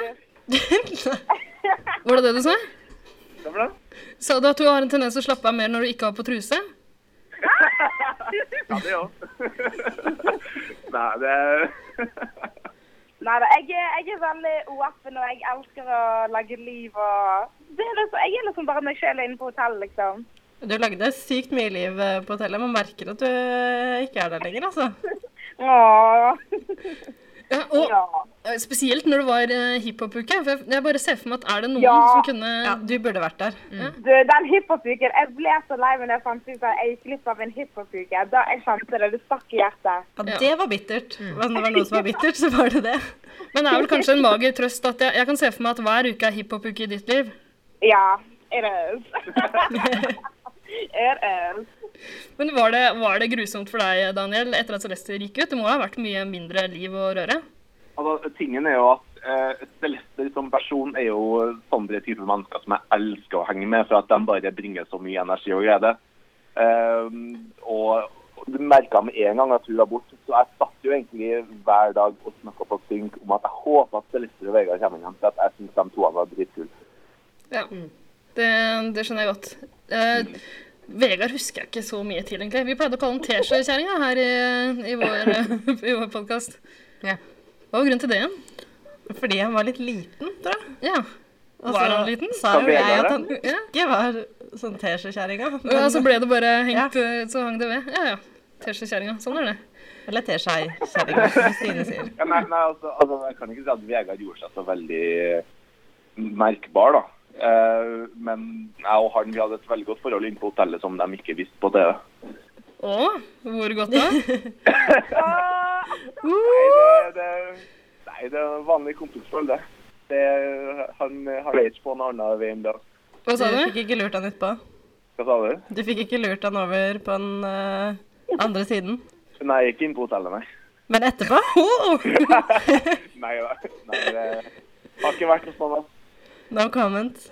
var det det du sa? Det var det. Sa du at du har en tendens til å slappe av mer når du ikke har på truse? Ja, det òg. Nei, det Nei da, jeg, er- jeg er veldig åpen, og jeg elsker å lage liv og det er liksom, Jeg er liksom bare meg sjøl inne på hotellet, liksom. Du lagde sykt mye liv eh, på hotellet. Man merker at du eh, ikke er der lenger, altså. Ja, og eh, Spesielt når det var eh, hiphop-uke. For jeg, jeg bare ser for meg at er det noen Ja. som kunne Ja, du burde vært der. Du, den hiphop-uken Jeg ble så lei meg da jeg fant ut at jeg gikk glipp av en hiphop-uke. Da jeg kjente det. Det stakk i hjertet. Ja, det var bittert. Om det var noe som var bittert, så var det det. Mm. Men det er vel kanskje en mager trøst at jeg, jeg kan se for meg at hver uke er hiphop-uke i ditt liv. Ja. It is. it is. Men var det, var det grusomt for deg, Daniel, etter at Celeste gikk ut? Det må ha vært mye mindre liv og røre? Altså, tingen er jo at eh, Celester som person er jo sånne typer mennesker som jeg elsker å henge med, for at de bare bringer så mye energi og glede. Ehm, og og du merka med en gang at hun var borte, så jeg satt jo egentlig hver dag og snakka på ting om at jeg håper at Celester og Vegard kommer hjem, for at jeg syns de to var dritkule. Ja, Mm. det, det skjønner jeg godt. Eh, Vegard husker jeg ikke så mye til, egentlig. Vi pleide å kalle han T-skjortekjerringa her i, i vår, eh, i vår podkast. Ja. Hva var grunnen til det igjen? Fordi han var litt liten, tror jeg. Ja. Og var så han liten? Sa jo jeg at han ikke var sånn teskjekjerringa. Ja, så ble det bare hengt, eh, så hang det ved. Ja, ja. Teskjekjerringa. Sånn er det. Eller teskjekjerringa, som Stine sier. Ja, nei, nei, altså, altså, jeg kan ikke si at Vegard gjorde seg så veldig merkbar, da. Eh, men jeg og han vi hadde et veldig godt forhold inne på hotellet som de ikke visste på TV. Å, hvor godt da? Uh! Nei, det, det, nei, det er vanlig kompisforhold, det. det. Han har ikke på en annen vei enn det. Hva sa du? Du fikk ikke lurt han utpå. Hva sa du? Du fikk ikke lurt han over på den eh, andre siden. Nei, ikke inne på hotellet, nei. Men etterpå? Nei, nei, nei det har ikke vært noe sånn, da. No comment.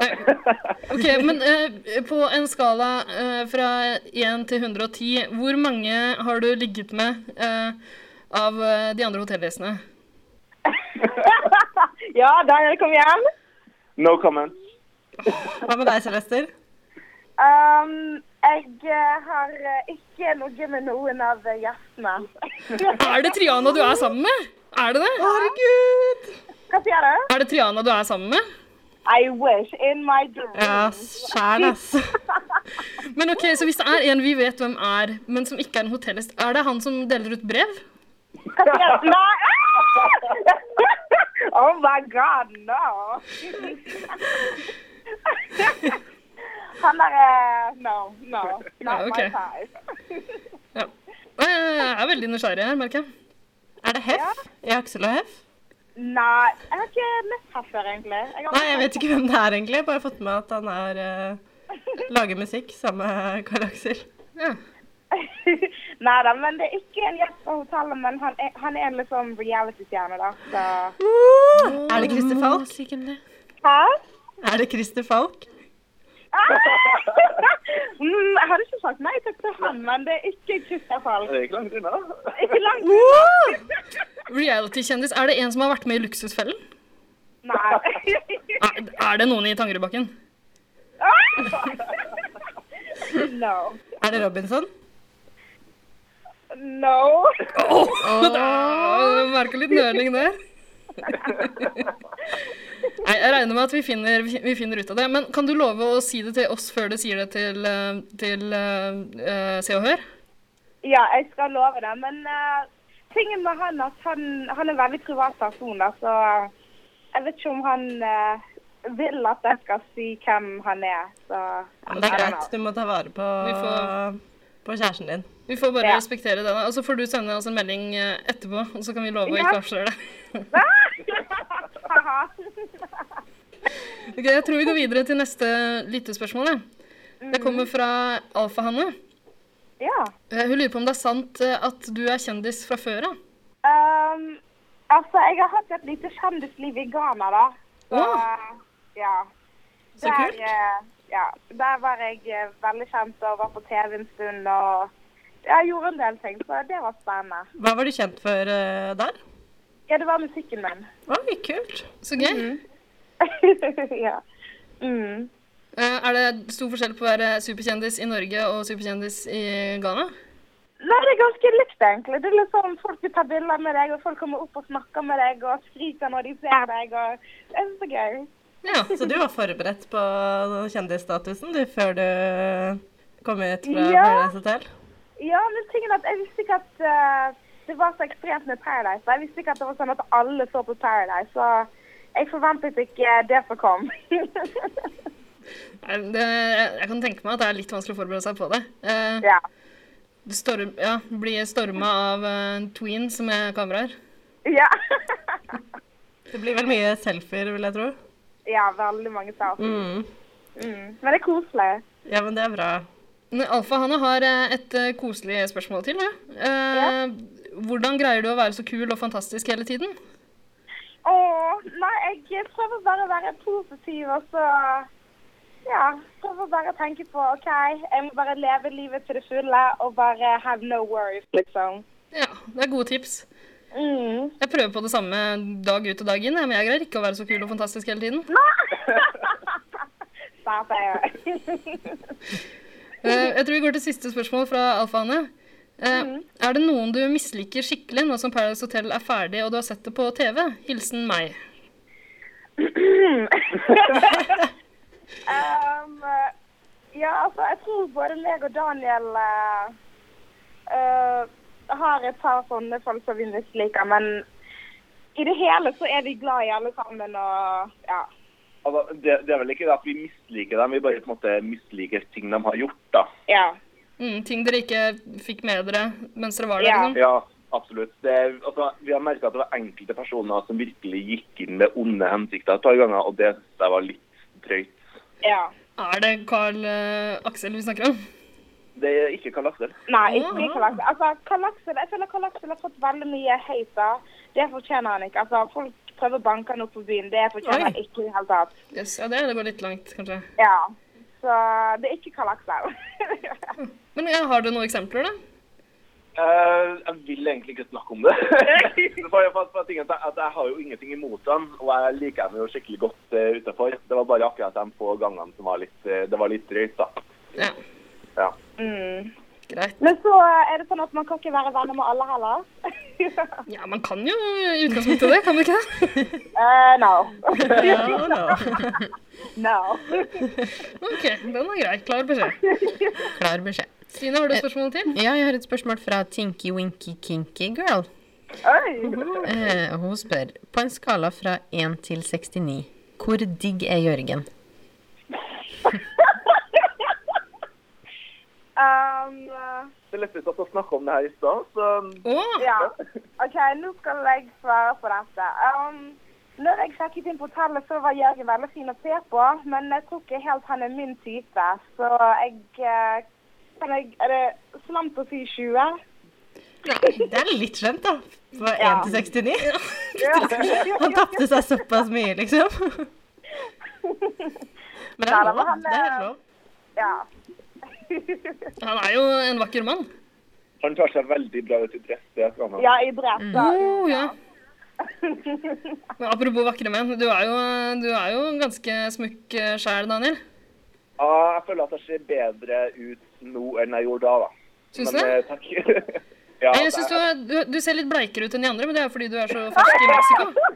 Ok, men eh, på en skala eh, fra 1 til 110, hvor mange har du ligget med eh, av eh, de andre hotellgjestene? ja, Daniel, kom igjen. No comment. Hva med deg, Celester? Um, jeg eh, har eh, ikke ligget med noen av eh, gjestene. Er det Triana du er sammen med? Er det det? Herregud! Hva sier du? Er det Triana du er sammen med? I wish. In my dream. Ja, sjæl, ass. Men ok, så hvis det er en vi vet hvem er, men som ikke er en hotellgjest, er det han som deler ut brev? Hva sier du? Nei! ah! oh my god, no. Han er eh, No, no. Not Ja, ok. my type. Ja. Eh, Jeg er veldig nysgjerrig her, merker jeg. Er det Hef? I Aksel og Hef? Nei, jeg har ikke møtt ham før, egentlig. Jeg har Nei, jeg vet ikke hvem det er, egentlig. Jeg har bare fått med at han er eh, lager musikk sammen med Karl Aksel. Nei da, men det er ikke en gjest fra hotellet, men han er, han er en liksom reality-stjerne, da. Så Er det Christer Falk? Hæ? Er det Christer Falk? Ah! Mm, jeg hadde ikke sagt nei takk til han, men det er ikke Christer Falk. Det er ikke langt unna. Ikke langt unna. Reality-kjendis, er det en som har vært med i Luksusfellen? Nei. Er, er det noen i Tangerudbakken? Ah! No. Er det Robinson? No. Oh, merker litt nøling der. Nei, Jeg regner med at vi finner, vi finner ut av det. Men kan du love å si det til oss før du sier det til, eh, til eh, eh, Se og Hør? Ja, jeg skal love det, men eh, tingen med han er at han, han er en veldig privat person, da, så eh, jeg vet ikke om han eh, vil at jeg skal si hvem han er, så Ja, men det I don't er greit. know. Du må ta vare på, Vi får- på kjæresten din. Vi får bare Ja. respektere det, da. Og så får du sende oss en melding eh, etterpå, og så kan vi love å Ja. ikke avsløre det. Ha-ha. Ok, jeg tror vi går videre til neste lyttespørsmål. Jeg. Det kommer fra Alfahanne. Ja. Eh, Hun lurer på om det er sant eh, at du er kjendis fra før av. Um, altså, jeg har hatt et lite kjendisliv i Ghana, da. Så, ja. Så Der, kult. eh, Ja, der var jeg eh, veldig kjent og var på TV en stund og ja, gjorde en del ting, så det var spennende. Hva var du kjent for eh, der? Ja, det var musikken min. Oi, kult. Så gøy. ja. Mm. Eh, Er det stor forskjell på å være superkjendis i Norge og superkjendis i Ghana? Nei, det er ganske likt, egentlig. Det er litt sånn Folk vil ta bilder med deg, og folk kommer opp og snakker med deg og skriker når de ser deg. og Det er så gøy. Så du var forberedt på kjendisstatusen du, før du kom ut fra Ja. Paradise Hotel? Ja, men tingen er at jeg visste ikke at eh, det var så ekstremt med Paradise. Jeg visste ikke at det var sånn at alle så på Paradise. Så jeg forventet ikke eh, det som kom. Nei, Det, jeg kan tenke meg at det er litt vanskelig å forberede seg på det. Eh, du Storm, ja, blir storma av eh, en tween som er kameraer. ja. Det blir vel mye selfier, vil jeg tro. ja, veldig mange sa det. Mm. Mm. Men det er koselig. Ja, men det er bra. Men Alfa Hanne har eh, et eh, koselig spørsmål til. Ja. Eh, Hvordan greier du å være så kul og fantastisk hele tiden? Åh, nei, jeg prøver bare å være positiv, og så ja, prøver bare å tenke på OK, jeg må bare leve livet til det fulle og bare have no worries, liksom. Mm. Ja, det er gode tips. Jeg prøver på det samme dag ut og dag inn, jeg, men jeg greier ikke å være så kul og fantastisk hele tiden. Stop it. Eh, jeg tror vi går til siste spørsmål fra Alfa Hanne. Eh, Mm. Er det noen du misliker skikkelig nå som Paradise Hotel er ferdig og du har sett det på TV? Hilsen meg. um, ja, altså, jeg tror både meg og Daniel eh, eh, har et par sånne folk som vi misliker, men i det hele så er vi glad i alle sammen, og ja. Altså, det, det er vel ikke det at vi misliker dem, vi bare på en måte misliker ting de har gjort, da. ja. Mm, ting dere ikke fikk med dere mens dere var der. liksom. Ja, absolutt. Det, er- altså, vi har merka at det var enkelte personer som virkelig gikk inn med onde hensikter et par ganger, og det synes jeg var litt drøyt. Er det Carl eh, Aksel vi snakker om? Det er ikke Karl Aksel. Nei, ikke Karl Aksel. Altså, Karl Aksel, jeg føler Karl Aksel har fått veldig mye hate. da. Det fortjener han ikke. Altså, folk prøver å banke han opp på byen. Det fortjener han Oi. ikke i det hele tatt. Yes, ja, det, det går litt langt, kanskje. Ja. Så det er ikke Karl Aksel. Men ja, har du noen eksempler, da? Eh, jeg vil egentlig ikke snakke om det. for, for, for tingen er at Jeg har jo ingenting imot dem, og jeg liker dem jo skikkelig godt uh, utenfor. Det var bare akkurat de få gangene som var litt, eh, det var litt drøyt, da. Ja. Ja. Mm. Greit. Men så er det sånn at man kan ikke være venner med alle heller. ja, man kan jo i utgangspunktet det, kan man ikke det? Eh, no. Ja, no. OK, den er grei. Klar beskjed. Klar beskjed. Stine, har du et spørsmål til? Ja, jeg har et spørsmål fra Tinky Winky Kinky Girl. Eh, hun spør På en skala fra 1 til 69, hvor digg er Jørgen? Um, Det lette ut at vi snakket om det her i stad, så Eh, ja. OK, nå skal jeg svare på dette. Um, når jeg sjekket inn på hotellet, så var Jørgen veldig fin å se på, men jeg tror ikke helt han er min type. Så jeg, eh, kan jeg Er det slemt å si 20? Det er litt slemt, da. Fra 1 Ja. til 69. Ja. Han tapte seg såpass mye, liksom. Men det Ja, er da lov. var han, eh, Det er lov. Ja. Han er jo en vakker mann. han tar seg veldig bra ut i dress. det skal han ha. ja, i brett, da. Oh, ja. Men apropos vakre menn, du er jo, du er jo ganske smukk eh, sjæl, Daniel. Ja, jeg føler at jeg ser bedre ut nå enn jeg gjorde da. da. Syns Men, du? eh, takk. ja, jeg syns det du, er- er- du, du ser litt bleikere ut enn de andre, men det er jo fordi du er så fersk i Mexico.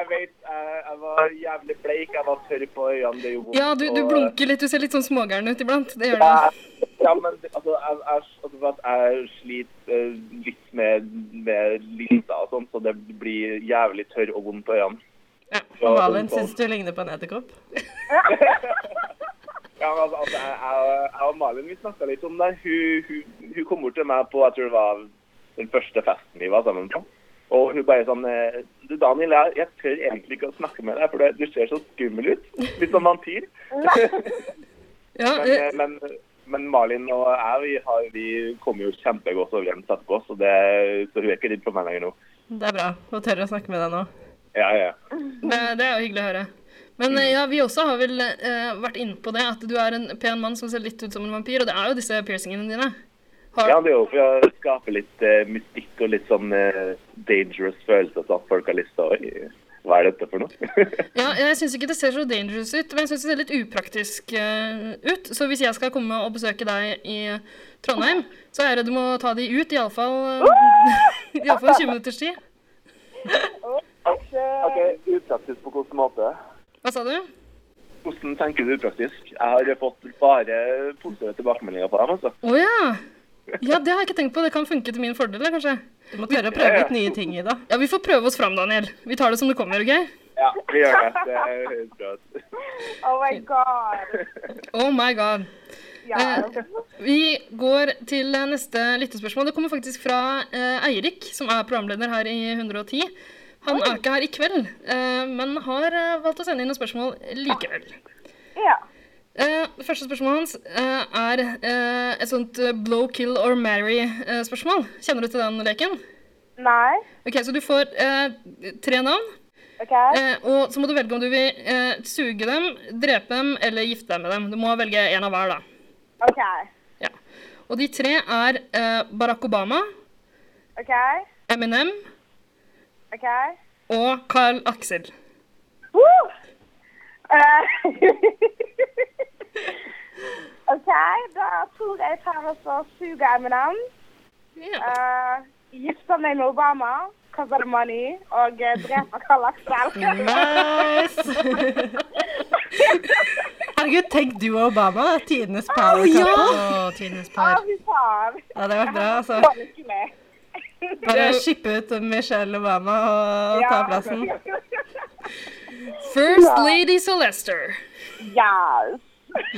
Jeg vet, jeg, jeg var jævlig bleik, jeg var tørr på øynene. det gjorde vondt, Ja, du, du og- blunker litt. Du ser litt sånn smågæren ut iblant. Det gjør Ja, du. ja, men det- altså, jeg, jeg, altså, for at jeg sliter eh, litt med, med linsa og sånn, så det blir jævlig tørr og vondt på øynene. Og Valen syns du ligner på en edderkopp. Ja, men altså, altså, jeg, jeg, jeg og Malin vi snakka litt om det. Hun, hun, hun kom bort til meg på jeg tror det var den første festen vi var sammen på. Og hun bare sånn eh, Du, Daniel, jeg, jeg tør egentlig ikke å snakke med deg, for du- du ser så skummel ut. Litt som vampyr. men, eh, men, men Malin og jeg vi, har, vi kommer jo kjempegodt overens etterpå, så, det, så hun er ikke redd for meg lenger nå. Det er bra å tørre å snakke med deg nå. Ja, ja. Men det er jo hyggelig å høre. Men eh, ja, vi også har vel eh, vært inne på det, at du er en pen mann som ser litt ut som en vampyr, og det er jo disse piercingene dine. Har, Ja, det er jo for å skape litt eh, mystikk og litt sånn eh, dangerous følelse, så at folk har lyst til å Oi, hva er dette for noe? ja, jeg syns ikke det ser så dangerous ut, men jeg syns det ser litt upraktisk eh, ut. Så hvis jeg skal komme og besøke deg i Trondheim, så er det du må ta de ut, iallfall eh, i alle fall 20 minutters tid. OK, upraktisk på hvilken måte? Hva sa du? Hvordan tenker du upraktisk? Jeg har fått bare positive tilbakemeldinger på dem, altså. Å ja. Ja, det har jeg ikke tenkt på. Det kan funke til min fordel, da, kanskje. Du må tørre å prøve ut nye ting i det. Ja, vi får prøve oss fram, Daniel. Vi tar det som det kommer, OK? Ja, vi gjør det. Det høres bra ut. Oh my god. Oh my god. Ja. Eh, vi går til eh, neste lyttespørsmål. Det kommer faktisk fra eh, Eirik, som er programleder her i 110. Han er ikke her i kveld, eh, men har eh, valgt å sende inn noen spørsmål likevel. Ja. Eh, det første spørsmålet hans eh, er eh, et sånt eh, blow, kill or marry-spørsmål. Kjenner du til den leken? Nei. Ok, Så du får eh, tre navn. Ok. Eh, og så må du velge om du vil eh, suge dem, drepe dem eller gifte deg med dem. Du må velge en av hver, da. Ok. Og de tre er eh, Barack Obama, Ok. Eminem Ok. og Carl Axel. Woo! Eh, ok, da tror jeg jeg tar og så suger Eminem. Eh, gifter meg med Obama, kaster money og eh, dreper Karl Aksel. Nice! Herregud, tenk du og Obama, da. Tidenes power Å, ja! couple. tidenes Å, fy faen. Ja, det hadde vært bra, altså. Jeg hadde ikke med. Bare skippe ut Michelle Obama og ta Ja. plassen. First Ja. Lady Celester. Yes.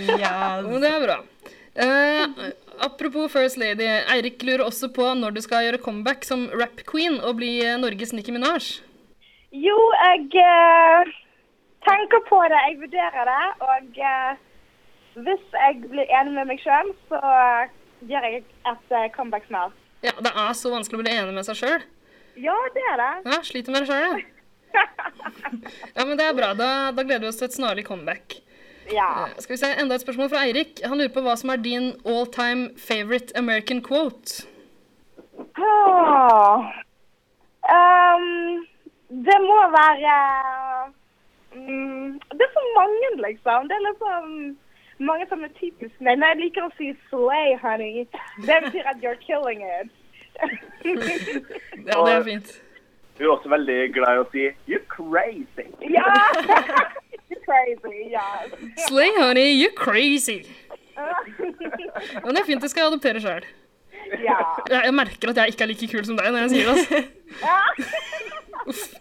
Men Det er bra. Eh, apropos First Lady. Eirik lurer også på når du skal gjøre comeback som rap queen og bli eh, Norges Nicki Minaj. Jo, jeg eh, tenker på det, jeg vurderer det, og eh, hvis jeg blir enig med meg sjøl, så eh, gjør jeg et eh, comeback snart. Ja, Det er så vanskelig å bli enig med seg sjøl. Ja, det er det. Ja, sliter med det sjøl, jeg. Ja, men det er bra. Da, da gleder vi oss til et snarlig comeback. Ja. Eh, Skal vi se, Enda et spørsmål fra Eirik. Han lurer på hva som er din all time favorite American quote. Åh. Ehm, det må være mm, Det er så mange, liksom. Det er liksom mange som er typisk meg. Men jeg liker å si 'slay, honey'. Det betyr at you're killing it. Ja, det er fint. Hun er også veldig glad i å si 'you're crazy'. Ja! You're crazy, yes. Slay honey, you crazy. Ja, men det er fint. Jeg skal adoptere sjøl. ja. Jeg, jeg merker at jeg ikke er like kul som deg når jeg sier det. altså.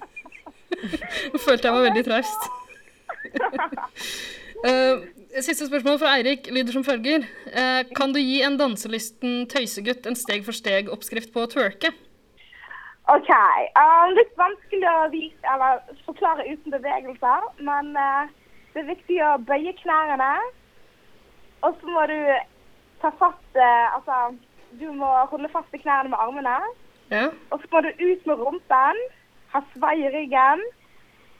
Nå følte jeg meg veldig traust. Eh, siste spørsmål fra Eirik lyder som følger. Eh, kan du gi en danselysten tøysegutt en steg for steg-oppskrift på å twerke? OK. ehm, litt vanskelig å vise, eller forklare uten bevegelser, men eh, det er viktig å bøye knærne. Og så må du ta fast eh, Altså, du må holde fast i knærne med armene. Ja. Og så må du ut med rumpen, ha svai i ryggen,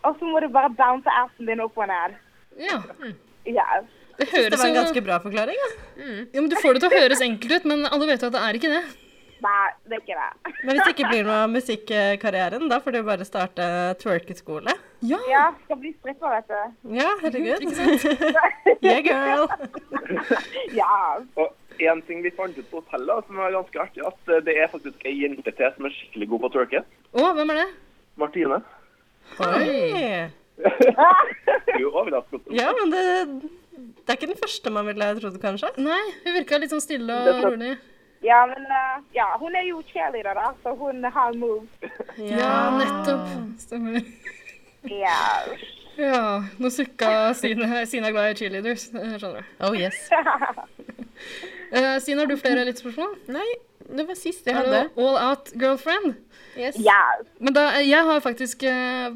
og så må du bare bounce assen din opp og ned. Ja. mm. Yes. Det høres var en jo- ganske bra forklaring. Ja. Ja, men Du får det til å høres enkelt ut, men alle vet jo at det er ikke det. Nei, det er ikke det. Men hvis det ikke blir noe av musikkarrieren, da får du bare starte twerkeskole. Ja. skal bli stripper, vet du. Ja, herregud. Ikke sant? yeah, girl. Ja. Og en ting vi fant ut på hotellet som var ganske artig, at eh, det er faktisk ei jente til som er skikkelig god på å twerke. Å, hvem er det? Martine. Oi. Det er jo overraskende. Ja, men det, det er ikke den første man ville trodd, kanskje? Nei, hun virka litt sånn stille og rolig. Ja, men eh, ja, hun er jo cheerleader, da, så hun har moves. Ja, nettopp. Stemmer. Ja. Ja, nå sukka Sine, Sine er glad i cheerleaders. eh, Skjønner du. Oh yes. Eh, Stine, har du flere lyttspørsmål? Nei, det var sist jeg Er hadde. det All Out Girlfriend. Men da, eh, jeg har faktisk eh,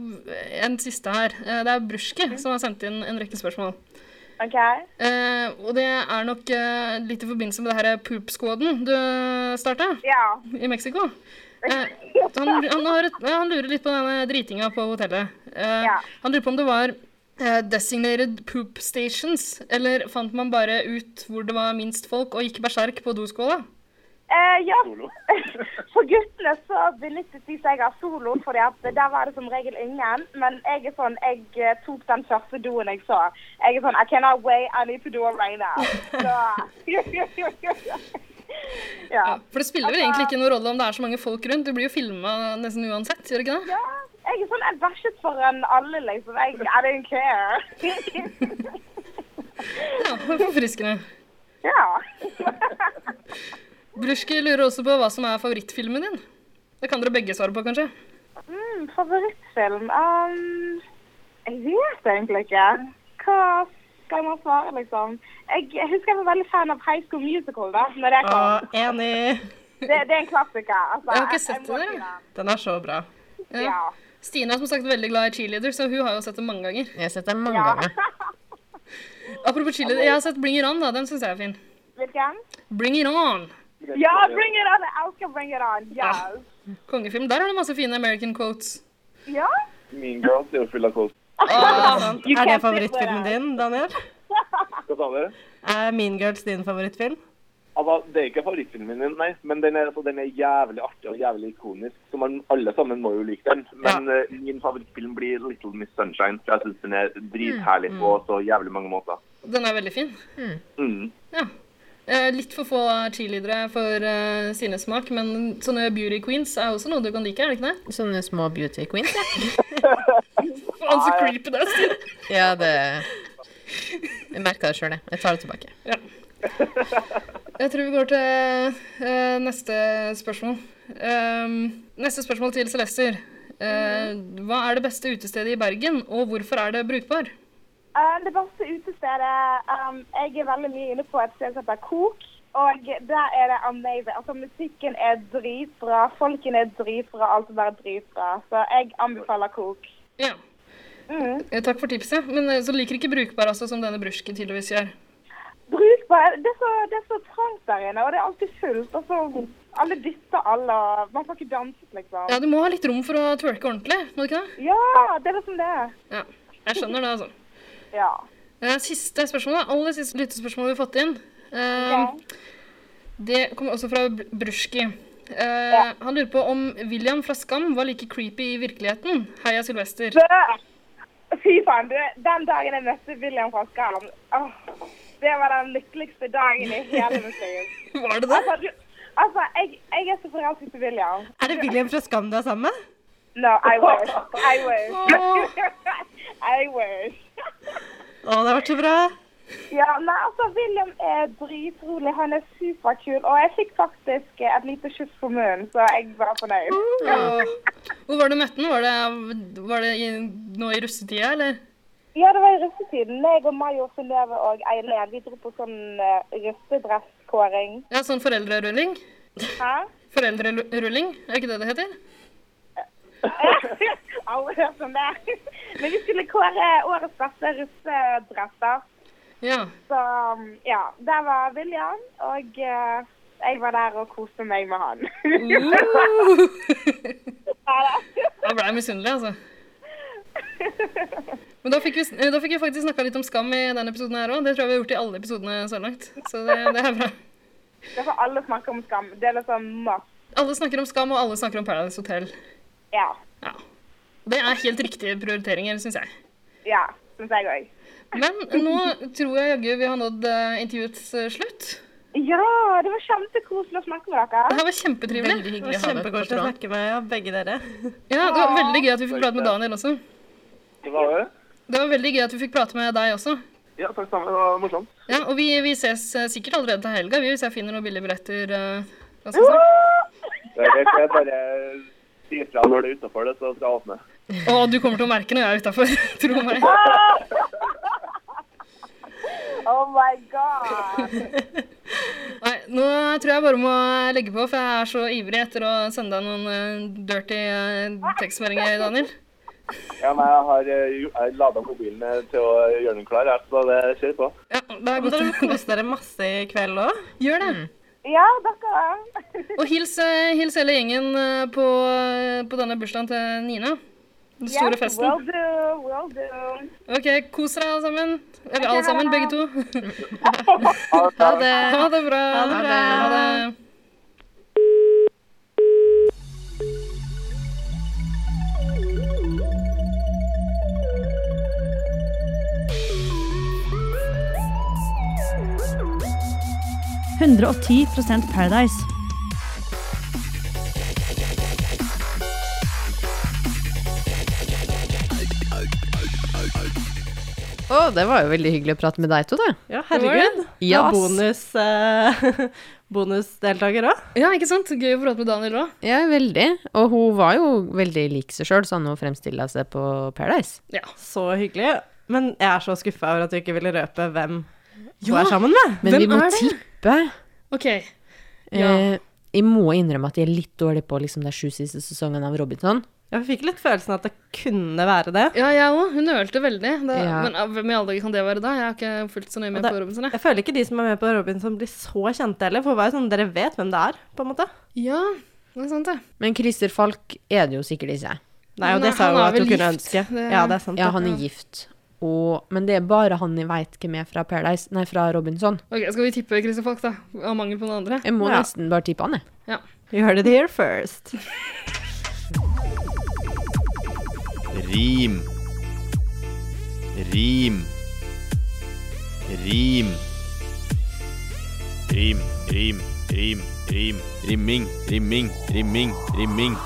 en siste her. Eh, Det er Bruske som har sendt inn en rekke spørsmål. OK. Eh, og det er nok eh, litt i forbindelse med det her poop squaden du eh, starta i Mexico. Eh, han, han, har et, ja, han lurer litt på denne dritinga på hotellet. Eh, Han lurer på om det var eh, designated poop stations, eller fant man bare ut hvor det var minst folk og gikk berserk på doskåla? Eh, ja, for guttene så benyttet de seg av solo, fordi at der var det som regel ingen. Men jeg er sånn, jeg eh, tok den første doen jeg så. Jeg er sånn, I cannot wait, I need to do it right now. Så, ja. For det spiller vel Altså- egentlig ikke noen rolle om det er så mange folk rundt, du blir jo filma nesten uansett, gjør det ikke det? Ja, jeg er sånn, jeg bæsjet foran alle, liksom. Jeg, I don't care. Ja, Forfriskende. ja. Bruski lurer også på hva som er favorittfilmen din. Det kan dere begge svare på, kanskje. Mm, favorittfilm? Um, jeg vet egentlig ikke. Hva skal man svare, liksom? Jeg, jeg husker jeg var veldig fan av High School Musical da når jeg Ah. kom. enig. Det, det er en klassiker. Altså, Jeg har ikke jeg- sett jeg må den, si jeg. Den er så bra. Ja. Stine er som sagt veldig glad i cheerleader, så hun har jo sett den mange ganger. Jeg har sett den mange Ja. ganger. Apropos cheerleader, jeg har sett Bring It On, da. Den syns jeg er fin. Hvilken? Bring It On! Ja, bring it on! Jeg elsker bring it on. Yes. Ah, Kongefilm. Der har du masse fine American quotes. Ja. Mean Girls er jo full av kos. Ah, Er det favorittfilmen din, Daniel? Hva sa dere? Er Mean Girls din favorittfilm? Altså, Det er ikke favorittfilmen min, nei, men den er, altså, den er jævlig artig og jævlig ikonisk. Så man, alle sammen må jo like den. Men eh, min favorittfilm blir 'Little Miss Sunshine'. For jeg syns den er dritherlig på så jævlig mange måter. Den er veldig fin. Mm. Ja. Eh, Litt for få cheerleadere for eh, sine smak, men sånne beauty queens er også noe du kan like, er det ikke det? Sånne små beauty queens, ja. Faen, så creepy det er. Stine. Ja, det Jeg merka det sjøl, jeg. Jeg tar det tilbake. Jeg tror vi går til eh, neste spørsmål. Ehm, neste spørsmål til Celester. Eh, hva er det beste utestedet i Bergen, og hvorfor er det brukbar? Eh, det beste utestedet um, Jeg er veldig mye inne på et sted som heter Kok. Og der er det amazing. Altså, musikken er dritbra, folkene er dritbra, alt er bare dritbra. Så jeg anbefaler Kok. Ja. Mm. Eh, takk for tipset, men eh, så liker ikke brukbar altså, som denne brusken tydeligvis gjør. Bruk bare Det er så, det er så trangt der inne, og det er alltid fullt. Og så alle dytter alle, og man får ikke danset, liksom. Ja, du må ha litt rom for å twerke ordentlig, må du ikke det? Ja, det er det som det er. Ja, jeg skjønner det, altså. Ja. Eh, Siste spørsmål, da. aller siste lyttespørsmål vi har fått inn. Eh, Det kommer også fra Br- Bruski. Eh, Han lurer på om William fra Skam var like creepy i virkeligheten. Heia Sylvester. Fy faen, du, den dagen jeg møtte William fra Skam, åh, det var den lykkeligste dagen i hele mitt liv. Var det det? Altså, du, altså jeg, jeg er så forelsket i William. Er det William fra Skam du er sammen med? No, I wish. I wish. I wish. Å, det har vært så bra. Ja, nei, altså, William er dritrolig. Han er superkul. Og jeg fikk faktisk eh, et lite kyss på munnen, så jeg var fornøyd. Ja. Hvor var det du møtte ham? Var det, var det i, nå i russetida, eller? Ja, det var i russetiden. Jeg og Mayo Synnøve og Eileen vi dro på sånn uh, russedresskåring. Ja, sånn foreldrerulling? Hæ? Foreldrerulling, er ikke det det heter? Aldri hørt om det. Men vi skulle kåre årets beste russedresser. Ja. Så um, ja, der var William, og eh, jeg var der og koste meg med han. Mm. Uh. Jeg ble misunnelig, altså. Men da fikk, vi, sn- da fikk vi faktisk snakka litt om skam i denne episoden her òg. Det tror jeg vi har gjort i alle episodene så langt. Så det, det er bra. Det får alle snakke om skam. Det er liksom must. Alle snakker om skam, og alle snakker om Paradise Hotel. Ja. Det er helt riktige prioriteringer, syns jeg. Ja, syns jeg òg. Men nå tror jeg jaggu vi har nådd eh, intervjuets eh, slutt. Ja, det var kjempekoselig å snakke med Det her dere. var kjempetrivelig. Veldig hyggelig Det var kjempekoselig å snakke med ja, begge dere. Ja, det var veldig gøy at vi fikk prate med Daniel også. Det var det. Det var veldig gøy at vi fikk prate med deg også. Ja, takk sammen. Det var morsomt. Ja, og vi, vi ses eh, sikkert allerede til helga, vi, hvis jeg finner noen billige billetter. eh, ganske snart. Det er greit, jeg bare sier fra når det er utafor det, så skal jeg åpne. Å, du kommer til å merke når jeg er utafor. Tro meg. Oh my god. Nei, nå tror jeg bare må legge på, for jeg er så ivrig etter å sende deg noen eh, dirty eh, tekstmeldinger, Daniel. Ja, men jeg har eh, jo- jeg lada mobilen eh, til å gjøre den klar, jeg, så det kjør på. Da må dere kose dere masse i kveld òg. Gjør det. Ja, dere. Mm. Og hils, eh, hils hele gjengen eh, på, på denne bursdagen til Nina. Den store festen. Will do, will do. OK, kos dere alle sammen. Eller alle sammen, begge to. Ha det. Ha det bra. Ha det bra. Ha det. Paradise. Å, det var jo veldig hyggelig å prate med deg to, da. Ja, herregud. Ja, Du er ass. bonus, eh, bonusdeltaker òg. Ja, ikke sant? Gøy å prate med Daniel òg. Ja, veldig. Og hun var jo veldig lik seg sjøl, sånn hun fremstilla seg på Paradise. Så hyggelig. Men jeg er så skuffa over at du ikke ville røpe hvem du Ja, er sammen med. Men vi må tippe. OK. Ja. Eh, jeg må innrømme at jeg er litt dårlig på liksom, de sju siste sesongene av Robinson. Jeg fikk litt følelsen at det kunne være det. Ja, jeg òg. Hun nølte veldig. Det, Ja. Men ah, hvem i alle dager kan det være da? Jeg har ikke fulgt så nøye Og med det- på Robinson. Jeg føler ikke de som er med på Robinson blir så kjente heller, for det var jo sånn, dere vet hvem det er, på en måte. Ja, det er sant, det. Men Christer Falk er det jo sikkert ikke. Nei, og det Nei, sa han hun er at vel hun kunne gift. ønske. Det- Ja, det er sant, Ja, det. han er gift. Og, men det er bare han jeg veit hvem er fra Paradise, nei, fra Robinson. Ok, Skal vi tippe Christer Falk, da? Av mangel på noen andre? Jeg må nesten bare tippe han, jeg. Ja. You heard it here first. Rim. Rim. Rim. Rim, rim, rim, rim. Rimming, rimming, rimming, rimming.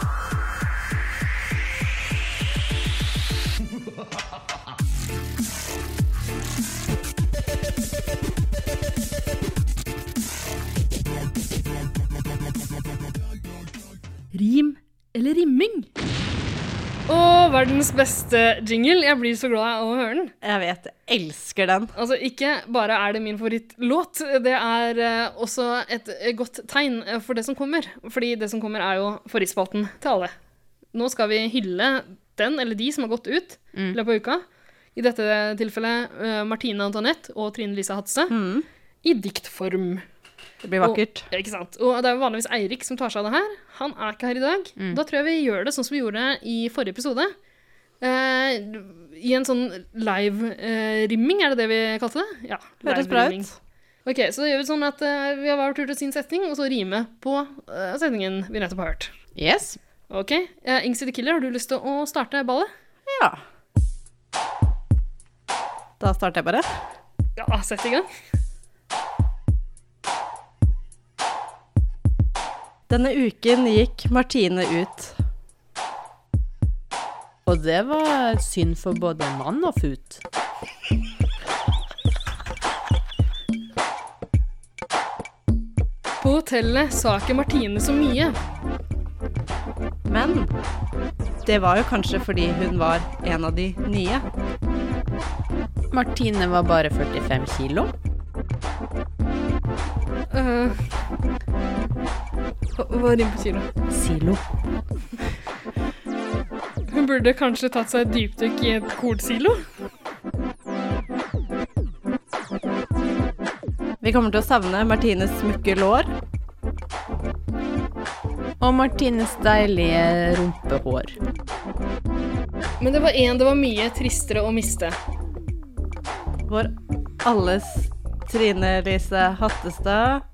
Rim eller rimming? Å, verdens beste jingle. Jeg blir så glad av å høre den. Jeg vet, jeg elsker den. Altså, ikke bare er det min favorittlåt, det er eh, også et eh, godt tegn eh, for det som kommer. Fordi det som kommer, er jo favorittspalten til alle. Nå skal vi hylle den eller de som har gått ut i Mm. løpet av uka. I dette tilfellet eh, Martine Antoinette og Trine Lise Hatse. I diktform. Det blir vakkert. Og, ikke sant? Og det er jo vanligvis Eirik som tar seg av det her. Han er ikke her i dag. Mm. Da tror jeg vi gjør det sånn som vi gjorde i forrige episode. Eh, I en sånn live-rimming, er det det vi kalte det? Ja. Høres live bra rimming. ut. Ok, så det gjør vi sånn at eh, vi har hver tur til sin setning, og så rime på eh, setningen vi nettopp har hørt. Yes. Ok, uh, Ingsy the Killer, har du lyst til å starte ballet? Ja. Da starter jeg bare. Ja, sett i gang. Denne uken gikk Martine ut. Og det var synd for både mann og fut. På hotellet sa ikke Martine så mye. Men det var jo kanskje fordi hun var en av de nye. Martine var bare 45 kilo. Eh, hva hva rimer på kilo? Silo. Hun burde kanskje tatt seg et dypdykk i et kornsilo? Vi kommer til å savne Martines smukke lår. Og Martines deilige rumpehår. Men det var én det var mye tristere å miste. Vår alles Trine Lise Hattestad.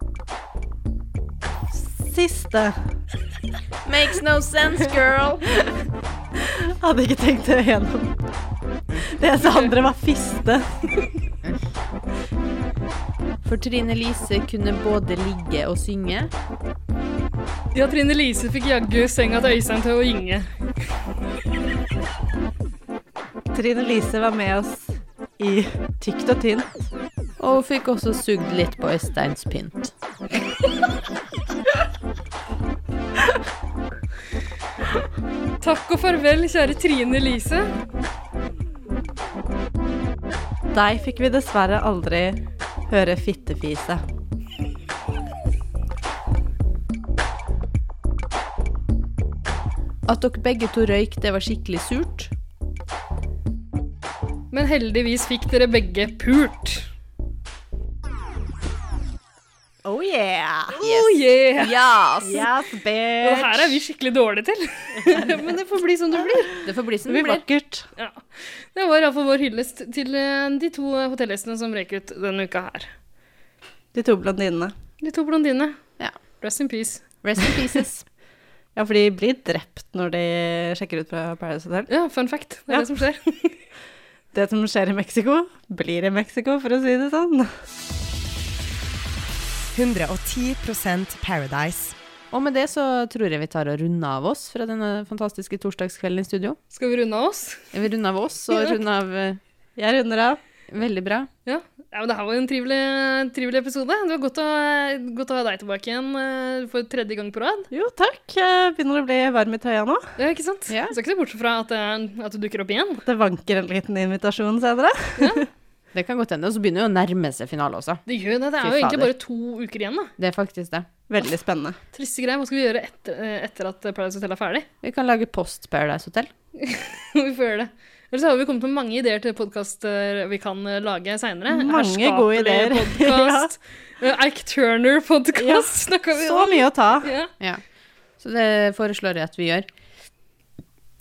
Siste. Makes no sense, girl. Hadde ikke tenkt det gjennom. Det eneste andre var fiste. For Trine Lise kunne både ligge og synge. Ja, Trine Lise fikk jaggu senga til Øystein til å gynge. Trine Lise var med oss i tykt og tynt. Og hun fikk også sugd litt på Øysteins pynt. Takk og farvel, kjære Trine Lise. Deg fikk vi dessverre aldri høre fittefise. At dere begge to røyk, det var skikkelig surt. Men heldigvis fikk dere begge pult. Oh yeah! Oh yeah! Yes. Yes, bitch. Og her er vi skikkelig dårlige til. Men det får bli som det blir. Det får bli som Det det blir blir. Ja. Det var iallfall vår hyllest til eh, de to hotellgjestene som røyk ut denne uka her. De to blondinene. De to blondinene. Ja. Rest in peace. Rest in pieces. Ja, for de blir drept når de sjekker ut fra Paradise Hotel. Ja, fun fact. Det er det som skjer. det som skjer i Mexico, blir i Mexico, for å si det sånn. 110 Paradise. Og med det så tror jeg vi tar og runder av oss fra denne fantastiske torsdagskvelden i studio. Skal vi runde av oss? Vi runder av oss, og Ja. runder av eh, Jeg runder av. Veldig bra. Ja. ja, men Det her var jo en trivelig, trivelig episode. Det var godt å, godt å ha deg tilbake igjen eh, for tredje gang på rad. Jo, takk. Jeg begynner å bli varm i trøya nå. Ja, ikke sant? Ja. Skal ikke se bort fra at, eh, at du dukker opp igjen. Det vanker en liten invitasjon senere. Det kan godt hende. Og så begynner jo å nærme seg finale også. Det gjør jo det. Det Fy er jo fader. egentlig bare to uker igjen. da. Det er faktisk det. Veldig spennende. Triste greier. Hva skal vi gjøre etter, eh, etter at Paradise Hotel er ferdig? Vi kan lage post Paradise Hotel. vi får gjøre det. Eller så har vi kommet med mange ideer til podkaster vi kan eh, lage seinere. Mange gode ideer. Podkast. Ike Turner-podkast Ja, snakka vi om. Så mye å ta. Ja. Ja. Så det foreslår jeg at vi gjør.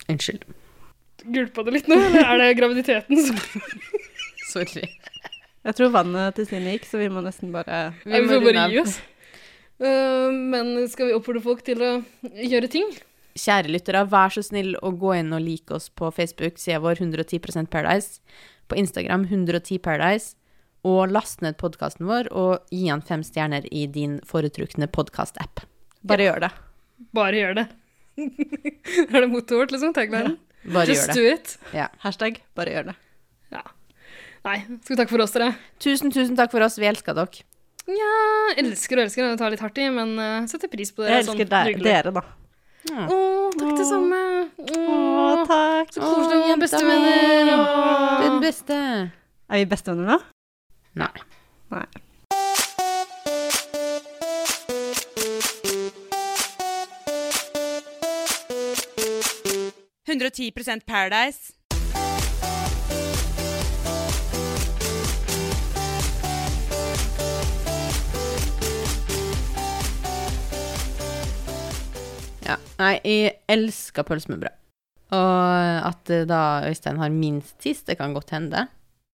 Unnskyld. Gulpa det litt nå, eller er det graviditeten som Sorry. Jeg tror vannet til Stine gikk, så vi må nesten bare Vi må bare gi oss. Eh, men skal vi oppfordre folk til å gjøre ting? Kjære lyttere, vær så snill å gå inn og like oss på Facebook, sida vår 110 Paradise, på Instagram 110 Paradise, og last ned podkasten vår og gi den fem stjerner i din foretrukne podkast-app. Bare gjør det. Bare gjør det. er det mottoet vårt, liksom? Taglinen? Bare Just gjør det. do it. Ja. Hashtag bare gjør det. Nei. Skal vi takke for oss, dere? Tusen, tusen takk for oss. Vi elsker dere. Nja, elsker og elsker. Det tar litt hardt i, men eh, setter pris på dere. Jeg elsker deg- dere, da. Å, takk det samme. Å, takk. Så koselig å være bestevenner. Du er Åh. den beste. Er vi bestevenner nå? Nei. Nei. Paradise. Ja. Nei, jeg elsker pølse med brød. Og at eh, da Øystein har minst tiss, det kan godt hende.